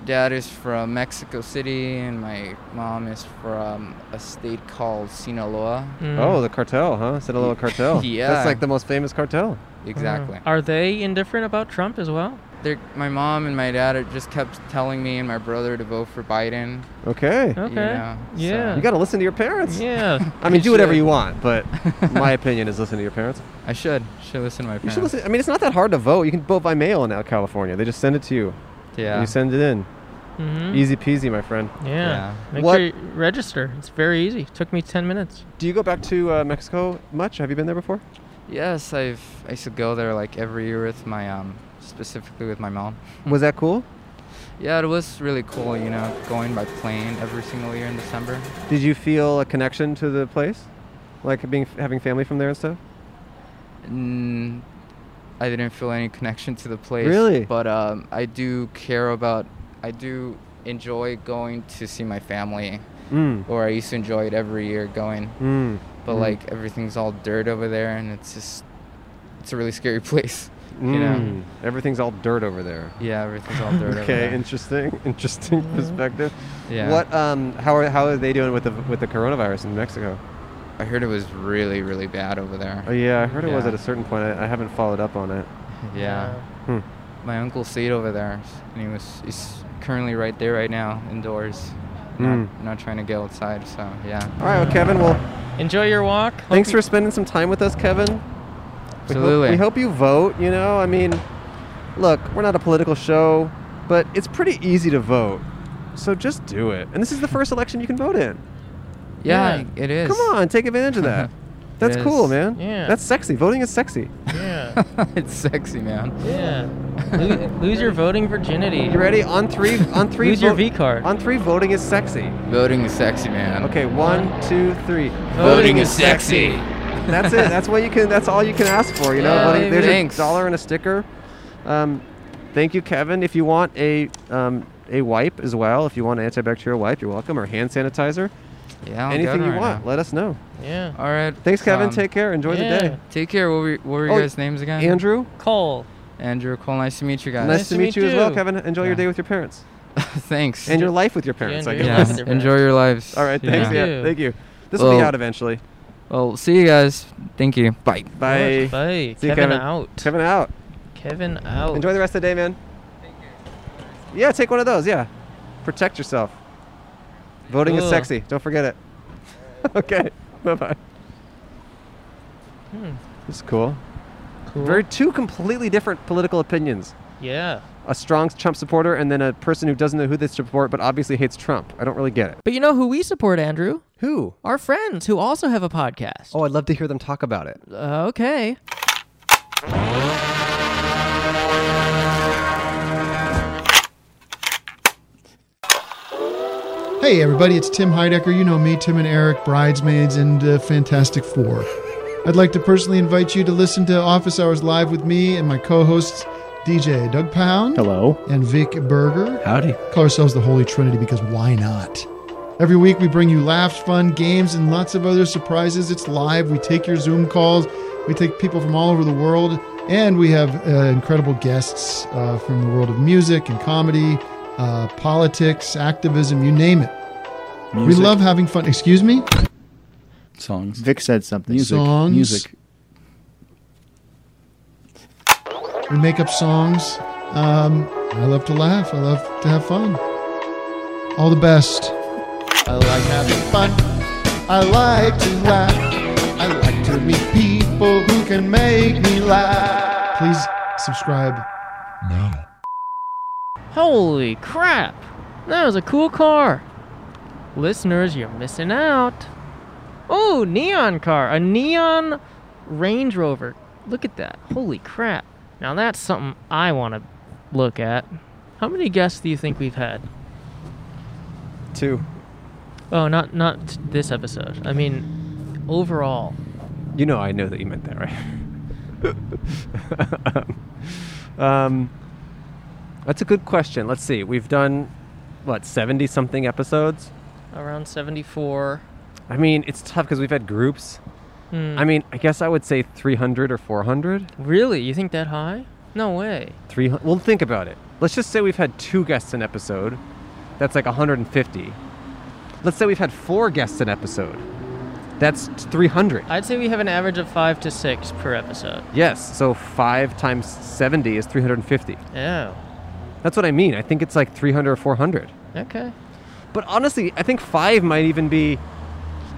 Dad is from Mexico City, and my mom is from a state called Sinaloa. Mm. Oh, the cartel, huh? Sinaloa cartel. Yeah. That's like the most famous cartel. Exactly. Uh, Are they indifferent about Trump as well? They're- my mom and my dad are- just kept telling me and my brother to vote for Biden. Okay. Okay. Yeah, so- yeah. You got to listen to your parents. yeah. I mean, You do whatever should. you want, but my opinion is listen to your parents. I should should listen to my You parents. should listen. I mean, it's not that hard to vote. You can vote by mail in out California. They just send it to you. Yeah. Mm. You send it in. Mhm. Easy peasy, my friend. Yeah. Yeah. Make What- sure you register. It's very easy. took me 10 minutes. Do you go back to uh, Mexico much? Have you been there before? Yes, I've I used to go there like every year with my um specifically with my mom. Was that cool? Yeah, it was really cool, you know, going by plane every single year in December. Did you feel a connection to the place, like being having family from there and stuff? Mm, I didn't feel any connection to the place. Really? But um, I do care about, I do enjoy going to see my family, Mm. or I used to enjoy it every year going. Mm. But Mm. like everything's all dirt over there, and it's just, it's a really scary place. You know. Mm, Everything's all dirt over there. Yeah, everything's all dirt. over Okay, there. interesting, interesting perspective. Mm-hmm. Yeah. What? Um. How are How are they doing with the with the coronavirus in Mexico? I heard it was really, really bad over there. Oh yeah, I heard it was Yeah. at a certain point. I, I haven't followed up on it. Yeah. Hmm. My uncle stayed over there, and he was he's currently right there right now, indoors. Not, Mm. not trying to get outside, so yeah. All right, well, Kevin. Well, Enjoy your walk. Hope thanks you- for spending some time with us, Kevin. We hope- Absolutely. We hope, you vote. You know, I mean, look, we're not a political show, but it's pretty easy to vote. So just do it. And this is the first election you can vote in. Yeah, Yeah. it is. Come on, take advantage of that. That's Yes. cool, man. Yeah. That's sexy. Voting is sexy. Yeah. it's sexy, man. yeah. Lo- lose your voting virginity. You ready? On three, on three. Lose your vote- V card. On three, voting is sexy. Voting is sexy, man. Okay, one, two, three. Voting is sexy. That's it. That's what you can. That's all you can ask for. You know, Yeah, Buddy, there's thanks. a dollar and a sticker. Um, thank you, Kevin. If you want a um, a wipe as well, if you want an antibacterial wipe, you're welcome. Or hand sanitizer, Yeah. I'm anything good you right want, now. let us know. Yeah. All right. Thanks, Kevin. um, Take care. Enjoy yeah. the day. Take care. What were, what were Oh, your guys' names again? Andrew, Cole. Andrew Cole. Nice to meet you nice, guys. to meet you as well, you. Kevin. Enjoy your Yeah. day with your parents Thanks. and your life with your parents. I enjoy guess. your yeah. life. Enjoy your lives. All right. Thanks. Yeah. Yeah. Thank you. Thank you. This will be Well- out eventually. Well, see you guys. Thank you. Bye. Bye. Bye. See you, Kevin, Kevin. out. Kevin out. Kevin out. Enjoy the rest of the day, man. Yeah, take one of those. Yeah, protect yourself. Voting is Ugh. sexy. Don't forget it. okay. Bye bye. Hmm. It's cool. Cool. Very two completely different political opinions. yeah. A strong Trump supporter and then a person who doesn't know who they support but obviously hates Trump. I don't really get it. But you know who we support, Andrew? Who? Our friends who also have a podcast. Oh, I'd love to hear them talk about it. Okay. Hey, everybody, it's Tim Heidecker. You know me, Tim and Eric, Bridesmaids, and uh, Fantastic Four. I'd like to personally invite you to listen to Office Hours Live with me and my co hosts, DJ Doug Pound Hello. and Vic Berger. Howdy. Call ourselves the Holy Trinity because why not? Every week we bring you laughs, fun, games, and lots of other surprises. It's live. We take your Zoom calls. We take people from all over the world, and we have uh, incredible guests uh, from the world of music and comedy, uh, politics, activism, you name it. We Music. love having fun. Excuse me? songs. Vic said something. Music. Songs. Music. We make up songs. Um, I love to laugh. I love to have fun. All the best. I like having fun. I like to laugh. I like to meet people who can make me laugh. Please subscribe. Holy crap! That was a cool car. Listeners, you're missing out. Oh, neon car. A neon Range Rover. Look at that. Holy crap. Now that's something I want to look at. How many guests do you think we've had? Two. Oh, not not this episode. I mean, overall. You know, I know that you meant that, right? um, that's a good question. Let's see. We've done what seventy something episodes. Around 74. I mean, it's tough because we've had groups. Hmm. I mean, I guess I would say 300 or 400. Really? You think that high? No way. 300. Well, think about it. Let's just say we've had two guests an episode. That's like 150. Let's say we've had four guests an episode. That's 300. I'd say we have an average of five to six per episode. Yes. So 5 times 70 is 350. Oh. That's what I mean. I think it's like 300 or 400. Okay. But honestly, I think 5 might even be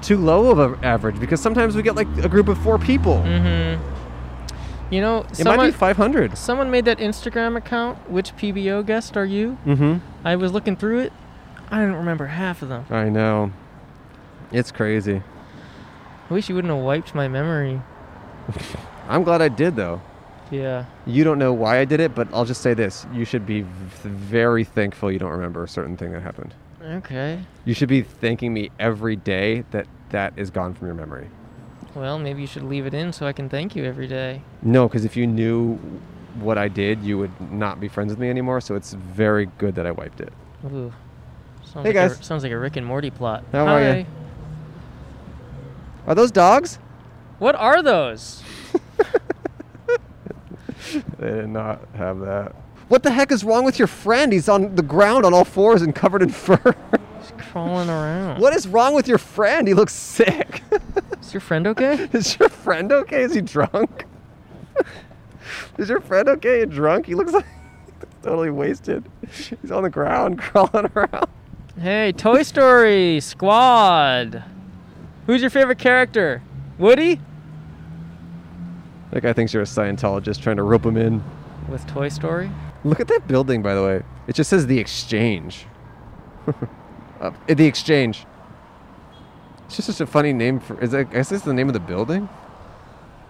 too low of an average because sometimes we get like a group of four people. Mm-hmm. You know, It might someone, be 500. someone made that Instagram account. Which PBO guest are you? Mm-hmm. I was looking through it. I didn't remember half of them. I know. It's crazy. I wish you wouldn't have wiped my memory. I'm glad I did though. Yeah. You don't know why I did it, but I'll just say this: you should be v- very thankful you don't remember a certain thing that happened. Okay. You should be thanking me every day that that is gone from your memory. Well, maybe you should leave it in so I can thank you every day. No, because if you knew what I did, you would not be friends with me anymore. So it's very good that I wiped it. Ooh. Sounds Hey, like guys. A, sounds like a Rick and Morty plot. How are Hi. ya? Are those dogs? What are those? They did not have that. What the heck is wrong with your friend? He's on the ground on all fours and covered in fur. He's crawling around. what is wrong with your friend? He looks sick. Is your friend okay? is your friend okay? Is he drunk? is your friend okay and drunk? He looks like totally wasted. He's on the ground crawling around. hey, Toy Story Squad. Who's your favorite character? Woody? That guy thinks you're a Scientologist trying to rope him in. With Toy Story? Look at that building, by the way. It just says the exchange. Up at the exchange. It's just such a funny name for. Is that, I guess it's the name of the building.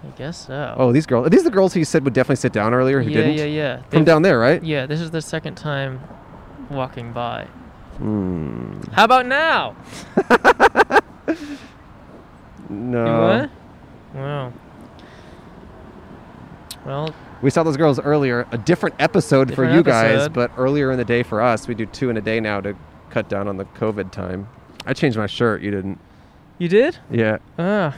I guess so. Oh, these girls. Are these the girls who you said would definitely sit down earlier who yeah, didn't? yeah, yeah. From They've- down there, right? Yeah, this is the second time walking by. Hmm. How about now? You No. what? Wow. Well, We saw those girls earlier. A different episode for Different you guys, episode. but earlier in the day for us. We do two in a day now to cut down on the COVID time. I changed my shirt. You didn't. you did? Yeah. Ah.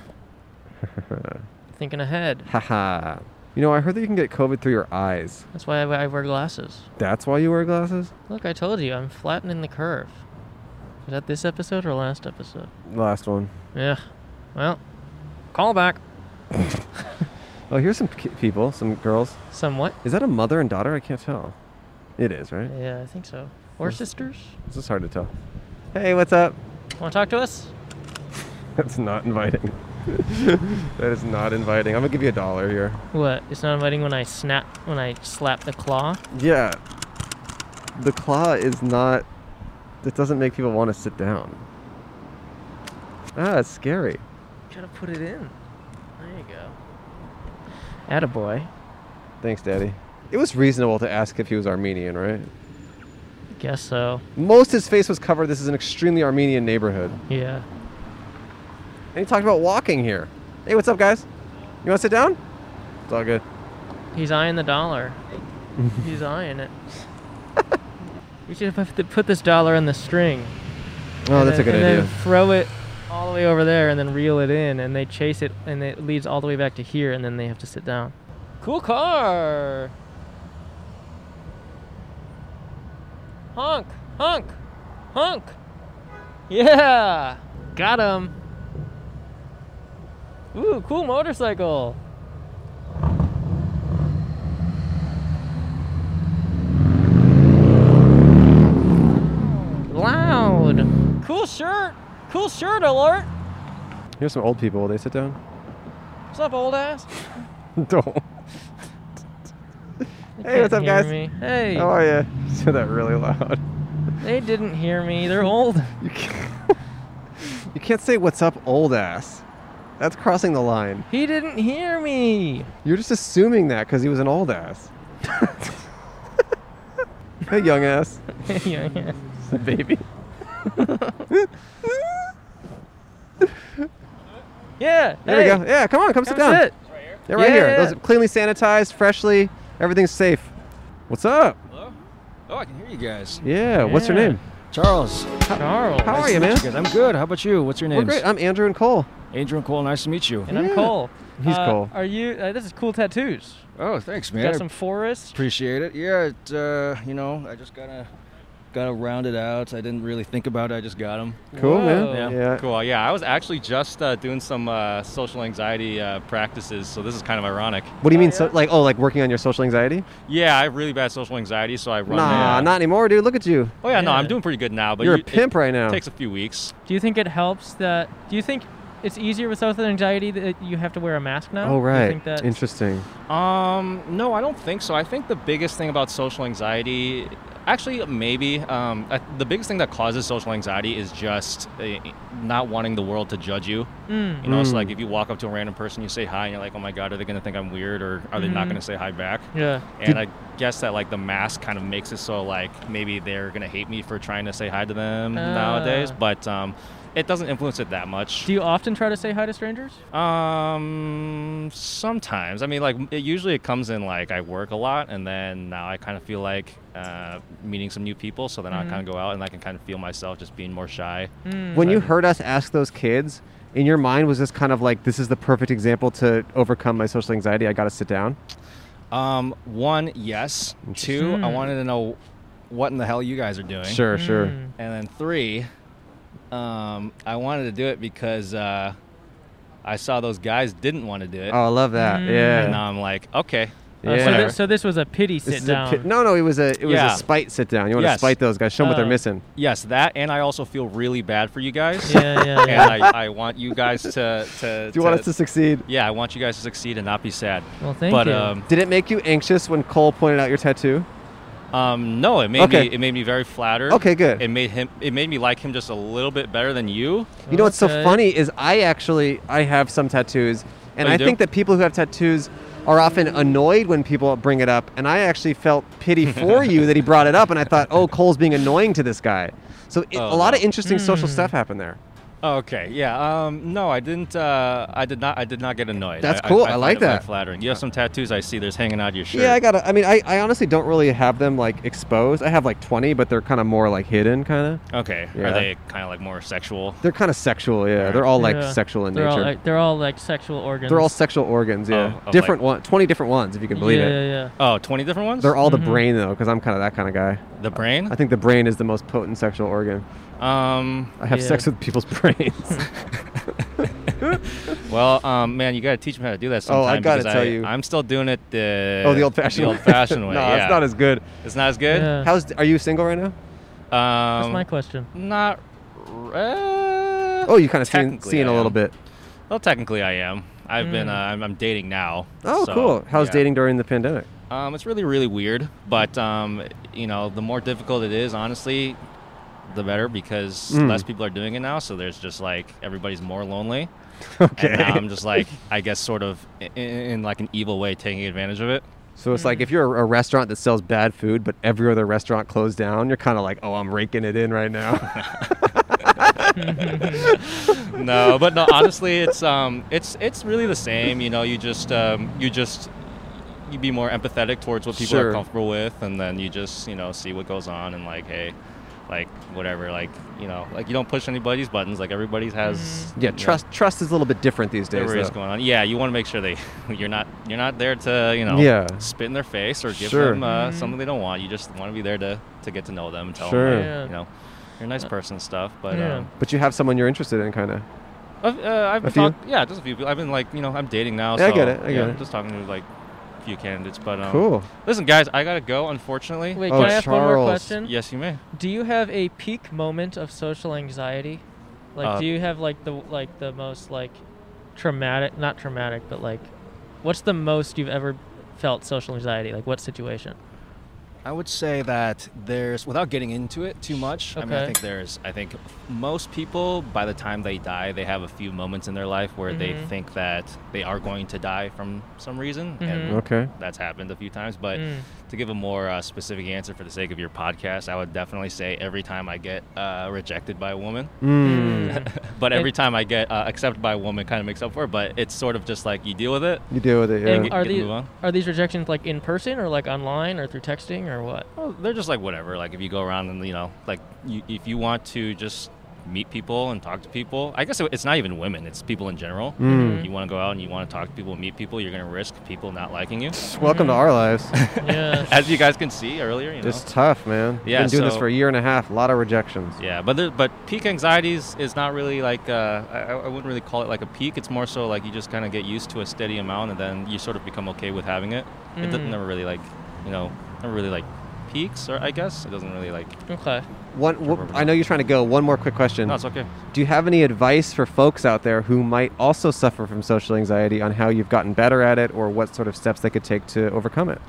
Thinking ahead. Haha. You know, I heard that you can get COVID through your eyes. That's why I, I wear glasses. That's why you wear glasses? Look, I told you, I'm flattening the curve. Is that this episode or last episode? Last one. Yeah. Well, call back. Oh, here's some ki- people, some girls. Somewhat. Is that a mother and daughter? I can't tell. It is, right? Yeah, I think so. Or sisters? It's just hard to tell. Hey, what's up? Want to talk to us? That's not inviting. that is not inviting. I'm gonna give you a dollar here. What? It's not inviting when I snap, when I slap the claw. Yeah. The claw is not. It doesn't make people want to sit down. Ah, it's scary. Gotta put it in. There you go. Attaboy. Thanks, Daddy. It was reasonable to ask if he was Armenian, right? Guess so. Most his face was covered. This is an extremely Armenian neighborhood. Yeah. And he talked about walking here. Hey, what's up, guys? You want to sit down? It's all good. He's eyeing the dollar. He's eyeing it. we should have to put this dollar in the string. Oh, and that's a then- good and idea. Then throw it all the way over there and then reel it in and they chase it and it leads all the way back to here and then they have to sit down. Cool car. Honk, honk, honk. Yeah. Got him. Ooh, cool motorcycle. Loud. Cool shirt. Cool shirt alert. Here's some old people. Will they sit down? What's up, old ass? Don't. They Hey, what's can't up, hear me. guys? Hey. How are you? Said that really loud. They didn't hear me. They're old. You can't, you can't say what's up, old ass. That's crossing the line. He didn't hear me. You're just assuming that because he was an old ass. hey, young ass. yeah, yeah. Baby. Yeah. There hey, we go. Yeah, come on, come, sit come down. sit. Yeah, right here. Yeah. Those are cleanly sanitized, freshly. Everything's safe. What's up? Hello? Oh, I can hear you guys. Yeah, what's your Yeah. name? Charles. Charles. How are nice you, to meet man? guys. I'm good. How about you? What's your We're name? great. I'm Andrew and Cole. Andrew and Cole. Nice to meet you. And I'm Yeah. Cole. He's Uh, Cole. Are you? Uh, this is cool tattoos. Oh, thanks, You man. Got some forest. Appreciate it. Yeah, it, uh, you know, I just gotta gotta round it out. I didn't really think about it. I just got them. Cool, Whoa. man. Yeah. Cool. Yeah, I was actually just uh, doing some uh, social anxiety uh, practices, so this is kind of ironic. What do you mean? So, like, oh, like working on your social anxiety? Yeah, I have really bad social anxiety, so I run. Nah, a- uh, not anymore, dude. Look at you. Oh yeah, no, Yeah. I'm doing pretty good now. But You're you- a pimp It right now. takes a few weeks. Do you think it helps that? Do you think it's easier with social anxiety that you have to wear a mask now? oh, Do you right. think that- Interesting. Um, no, I don't think so. I think the biggest thing about social anxiety, actually, maybe um, I, the biggest thing that causes social anxiety is just uh, not wanting the world to judge you. Mm. You know, Mm. so like if you walk up to a random person, you say hi, and you're like, oh my god, are they gonna think I'm weird, or are they Mhm. not gonna say hi back? Yeah. And I guess that like the mask kind of makes it so like maybe they're gonna hate me for trying to say hi to them nowadays, Ah. but um, it doesn't influence it that much. Do you often try to say hi to strangers? um, sometimes I mean like it usually it comes in like I work a lot, and then now I kind of feel like uh, meeting some new people, so then Mm-hmm. I kind of go out and I can kind of feel myself just being more shy. Mm-hmm. Hmm. When you Right. heard us ask those kids, in your mind was this kind of like this is the perfect example to overcome my social anxiety. I got to sit down. Um, one, yes. Two, I Hmm. wanted to know what in the hell you guys are doing. Sure, sure. Mm. And then three, um, I wanted to do it because uh, I saw those guys didn't want to do it. Oh, I love that. Mm. And Yeah. now I'm like, okay. Oh, so, Whatever. thi- so this was a pity This sit is a down. pi- no, no, it was a it was Yeah. a spite sit down. You want to Yes. spite those guys, show them what they're Oh. missing. Yes, that, and I also feel really bad for you guys. Yeah, yeah, yeah. and I, I want you guys to. to Do you want us to succeed? Yeah, I want you guys to succeed and not be sad. Well, thank but, you. um, Did it make you anxious when Cole pointed out your tattoo? um, no, it made Okay. me. It made me very flattered. Okay, good. It made him. It made me like him just a little bit better than you. You know what's so Okay. funny is I actually I have some tattoos, and Oh, you I do? think that people who have tattoos are often annoyed when people bring it up. And I actually felt pity for you that he brought it up, and I thought, oh, Cole's being annoying to this guy. So it, a Oh, lot of wow. interesting social Hmm. stuff happened there. Okay. Yeah. Um, no, I didn't. Uh, I did not. I did not get annoyed. That's cool, I find like it very that. Flattering. You have some tattoos I see. There's hanging out of your shirt. Yeah, I got. I mean, I, I honestly don't really have them like exposed. I have like twenty, but they're kind of more like hidden, kind of. okay. Yeah. Are they kind of like more sexual? They're kind of sexual. Yeah, they're all like Yeah. sexual in they're nature. all like, they're all like sexual organs. they're all sexual organs. Yeah, Of- of, like- different one, twenty different ones if you can believe yeah, it. Yeah, yeah. Oh, 20 different ones. They're all Mhm. the brain though, because I'm kind of that kind of guy. the brain. I think the brain is the most potent sexual organ. Um. I have Yeah. sex with people's brains. Well, um, man, you got to teach me how to do that. Oh, I sometime gotta because tell you. I'm still doing it the oh, the old-fashioned. the old-fashioned way. no, yeah. it's not as good. It's not as good. Yeah. How's? Are you single right now? Um, That's my question. Not. Uh, Oh, you kind of seen technically seeing I a little am. bit. Well, technically, I am. I've been. Mm. Uh, I'm, I'm dating now. Oh, so, cool. How's yeah. dating during the pandemic? Um, it's really, really weird. But um, you know, the more difficult it is, honestly, the better because Mm. less people are doing it now. So there's just like everybody's more lonely. Okay. And now I'm just like, I guess, sort of in, in like an evil way, taking advantage of it. So it's like if you're a restaurant that sells bad food, but every other restaurant closed down, you're kind of like, oh, I'm raking it in right now. no, but no, honestly, it's um, it's it's really the same. You know, you just um, you just you be more empathetic towards what people Sure. are comfortable with, and then you just you know see what goes on and like, hey, like whatever, like you know, like you don't push anybody's buttons. Like everybody has yeah, you know, trust trust is a little bit different these days. whatever is though. going on. Yeah, you want to make sure they you're not you're not there to you know Yeah. spit in their face or give Sure. them uh, something they don't want. You just want to be there to to get to know them and tell Sure. them that, Yeah. you know you're a nice person and stuff. But Yeah. um, But you have someone you're interested in, kind of. I've, uh, I've A been few? talk- yeah, just a few people. I've been like, you know, Mm-hmm. I'm dating now. Yeah, I so, get it, I yeah, get it. Just talking to like a few candidates, but um, Cool. Listen, guys, I gotta go. Unfortunately. Wait, Oh, can I ask one more Charles. question? Yes, you may. Do you have a peak moment of social anxiety? Like, Uh, do you have like the like the most like traumatic, not traumatic, but like, what's the most you've ever felt social anxiety? Like, what situation? I would say that there's, without getting into it too much, I mean, I Okay. think there's, I think most people, by the time they die, they have a few moments in their life where they Mhm. think that they are going to die from some reason, Mhm. and Okay. that's happened a few times. But Mm. to give a more uh, specific answer for the sake of your podcast, I would definitely say every time I get uh, rejected by a woman, Hmm. Mm. but And- every time I get uh, accepted by a woman, kind of makes up for it. But it's sort of just like you deal with it. You deal with it. Yeah. And get- are get these move on. are these rejections like in person or like online or through texting or what? Well, they're just like whatever. Like if you go around and you know, like you, if you want to just meet people and talk to people, I guess it- it's not even women; it's people in general. Mm. Mm-hmm. You want to go out and you want to talk to people, meet people. You're gonna risk people not liking you, Welcome to our lives. Yeah. as you guys can see earlier. You know. It's tough, man. Yeah, Been doing this so- for a year and a half. A lot of rejections. yeah, but there, but peak anxieties is not really like uh, I, I wouldn't really call it like a peak. It's more so like you just kind of get used to a steady amount, and then you sort of become okay with having it. It Mm. doesn't never really like you know never really like peaks, or I guess it doesn't really like. Okay. One. wh- I know you're trying to go. One more quick question. No, it's okay. Do you have any advice for folks out there who might also suffer from social anxiety on how you've gotten better at it or what sort of steps they could take to overcome it?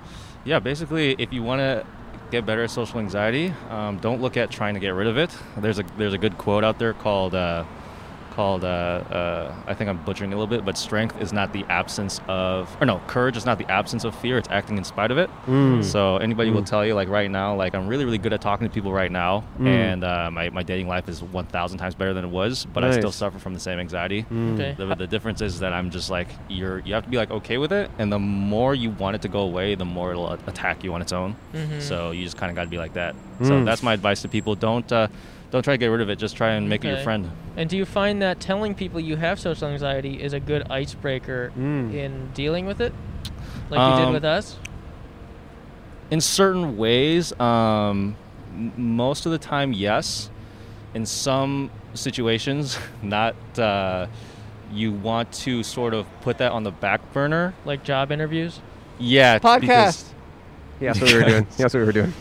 Yeah, basically, if you want to get better at social anxiety, um, don't look at trying to get rid of it. There's a there's a good quote out there called uh, called uh, uh, I think I'm butchering it a little bit, but strength is not the absence of or no, courage is not the absence of fear. It's acting in spite of it. Mm. So anybody will tell you like right now, like I'm really really good at talking to people right now, Mm. and uh, my my dating life is 1,000 times better than it was, but I still Nice. suffer from the same anxiety. Mm. Mm. Okay. Uh, The, the difference is that I'm just like you're. You have to be like okay with it, and the more you want it to go away, the more it'll a- attack you on its own. Mhm. So you just kind of got to be like that. Mm. So that's my advice to people: don't uh, don't try to get rid of it. Just try and make it your Okay. friend. And do you find that telling people you have social anxiety is a good icebreaker Mm. in dealing with it, like you did Um, with us? in certain ways, um, m- most of the time, yes. In some situations, not. Uh, you want to sort of put that on the back burner, like job interviews. Yeah, Podcast. Yeah, that's what we were doing. Yeah, that's what we were doing.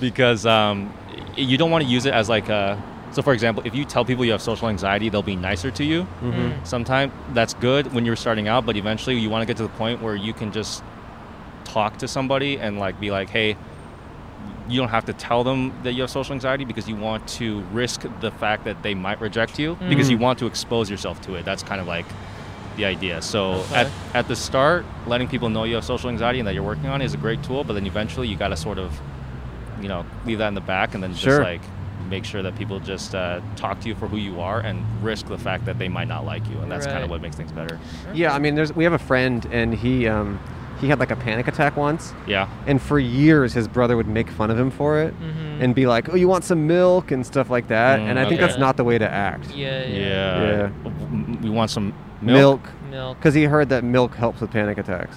because um, y- you don't want to use it as like a. So, for example, if you tell people you have social anxiety, they'll be nicer to you. Mhm. Sometimes that's good when you're starting out, but eventually you want to get to the point where you can just talk to somebody and like be like, hey, you don't have to tell them that you have social anxiety because you want to risk the fact that they might reject you because Mhm. you want to expose yourself to it. That's kind of like the idea. So Okay. at, at the start, letting people know you have social anxiety and that you're working on it is a great tool, but then eventually you got to sort of, you know, leave that in the back and then just Sure. like make sure that people just uh, talk to you for who you are and risk the fact that they might not like you. And that's kind Right. of what makes things better. Yeah, I mean, there's we have a friend, and he um, he had like a panic attack once. Yeah. And for years, his brother would make fun of him for it, Mm-hmm. and be like, "Oh, you want some milk and stuff like that." and I Mm, think okay. that's not the way to act. Yeah, yeah. Yeah. We want some milk. Milk. Milk. Because he heard that milk helps with panic attacks.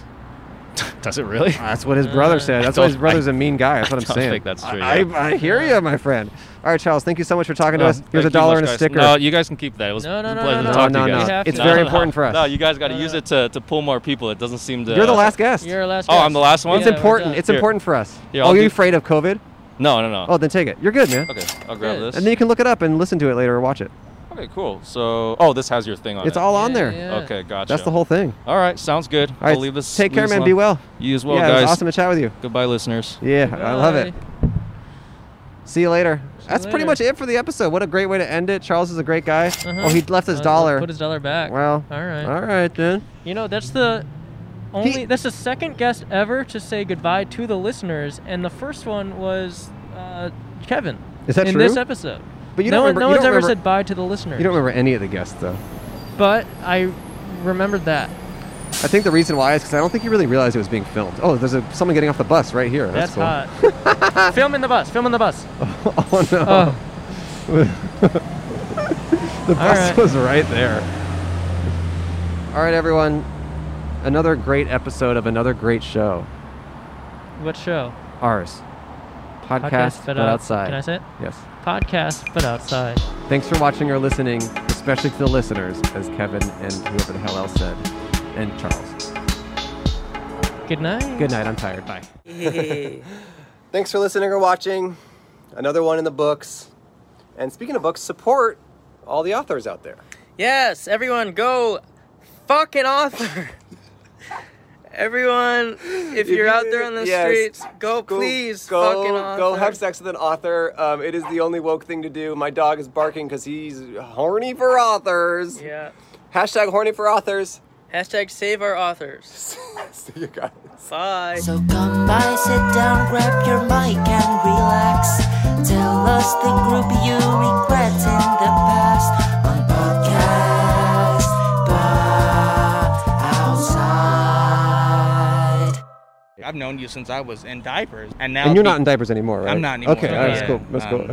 Does it really? That's what his brother said. Uh, I That's why his don't- brother's a mean guy. That's I what I'm don't saying. think that's true, I, yeah. I, I hear you, my friend. All right, Charles. Thank you so much for talking to Uh, us. Here's a thank you dollar much, and a guys. sticker. No, you guys can keep that. It was No, no, a no, pleasure no, to no. talk No, to you no, guys. no. It's very important for us. No, you guys got to use it to, to pull more people. It doesn't seem to. uh, You're the last guest. You're the last Oh, I'm guest. the last one. It's important. It's Here. important for us. Here, oh, I'll are you do- afraid of COVID? No, no, no. Oh, then take it. You're good, man. Okay, I'll grab this. And then you can look it up and listen to it later or watch it. Okay, cool. So, oh, this has your thing on it. It's all on there. Okay, gotcha. That's the whole thing. All right, sounds good. All right, I'll leave this. take leave care, this man. alone. Be well. You as well, yeah, guys. It was awesome to chat with you. Goodbye, listeners. Yeah, I love it. See you later. That's you pretty later. much it for the episode. What a great way to end it. Charles is a great guy. Uh-huh. Oh, he left his Uh, dollar. Put his dollar back. Well, all right. All right then. You know, that's the only that's the second guest ever to say goodbye to the listeners, and the first one was uh, Kevin. Is that in true? this episode? But you no don't one, remember- no you one's don't ever remember- said bye to the listeners. You don't remember any of the guests though. But I remembered that. I think the reason why is because I don't think you really realized it was being filmed. Oh, there's a, someone getting off the bus right here. That's, That's, cool. hot. film in the bus. Film in the bus. Oh no. Oh. the bus right. was right there. All right, everyone. Another great episode of another great show. What show? Ours. Podcast, but, out- outside. uh, Can I say it? Yes. Podcast, but outside. Thanks for watching or listening, especially to the listeners, as Kevin and whoever the hell else said, and Charles. Good night. Good night. I'm tired. Bye. Hey. Thanks for listening or watching. Another one in the books. And speaking of books, support all the authors out there. Yes, everyone go fucking author. everyone, if you're out there on the Yes. streets, go, Go- please go, fucking author. go have sex with an author. Um, it is the only woke thing to do. My dog is barking because he's horny for authors. Yeah. Hashtag horny for authors. Hashtag save our authors. See you guys. Bye. So come by, sit down, grab your mic and relax. Tell us the group you regret in the past on podcast, but outside. I've known you since I was in diapers, and now And you're be- not in diapers anymore, right? I'm not anymore. Okay, all right, that's Yeah. cool. That's Um, cool.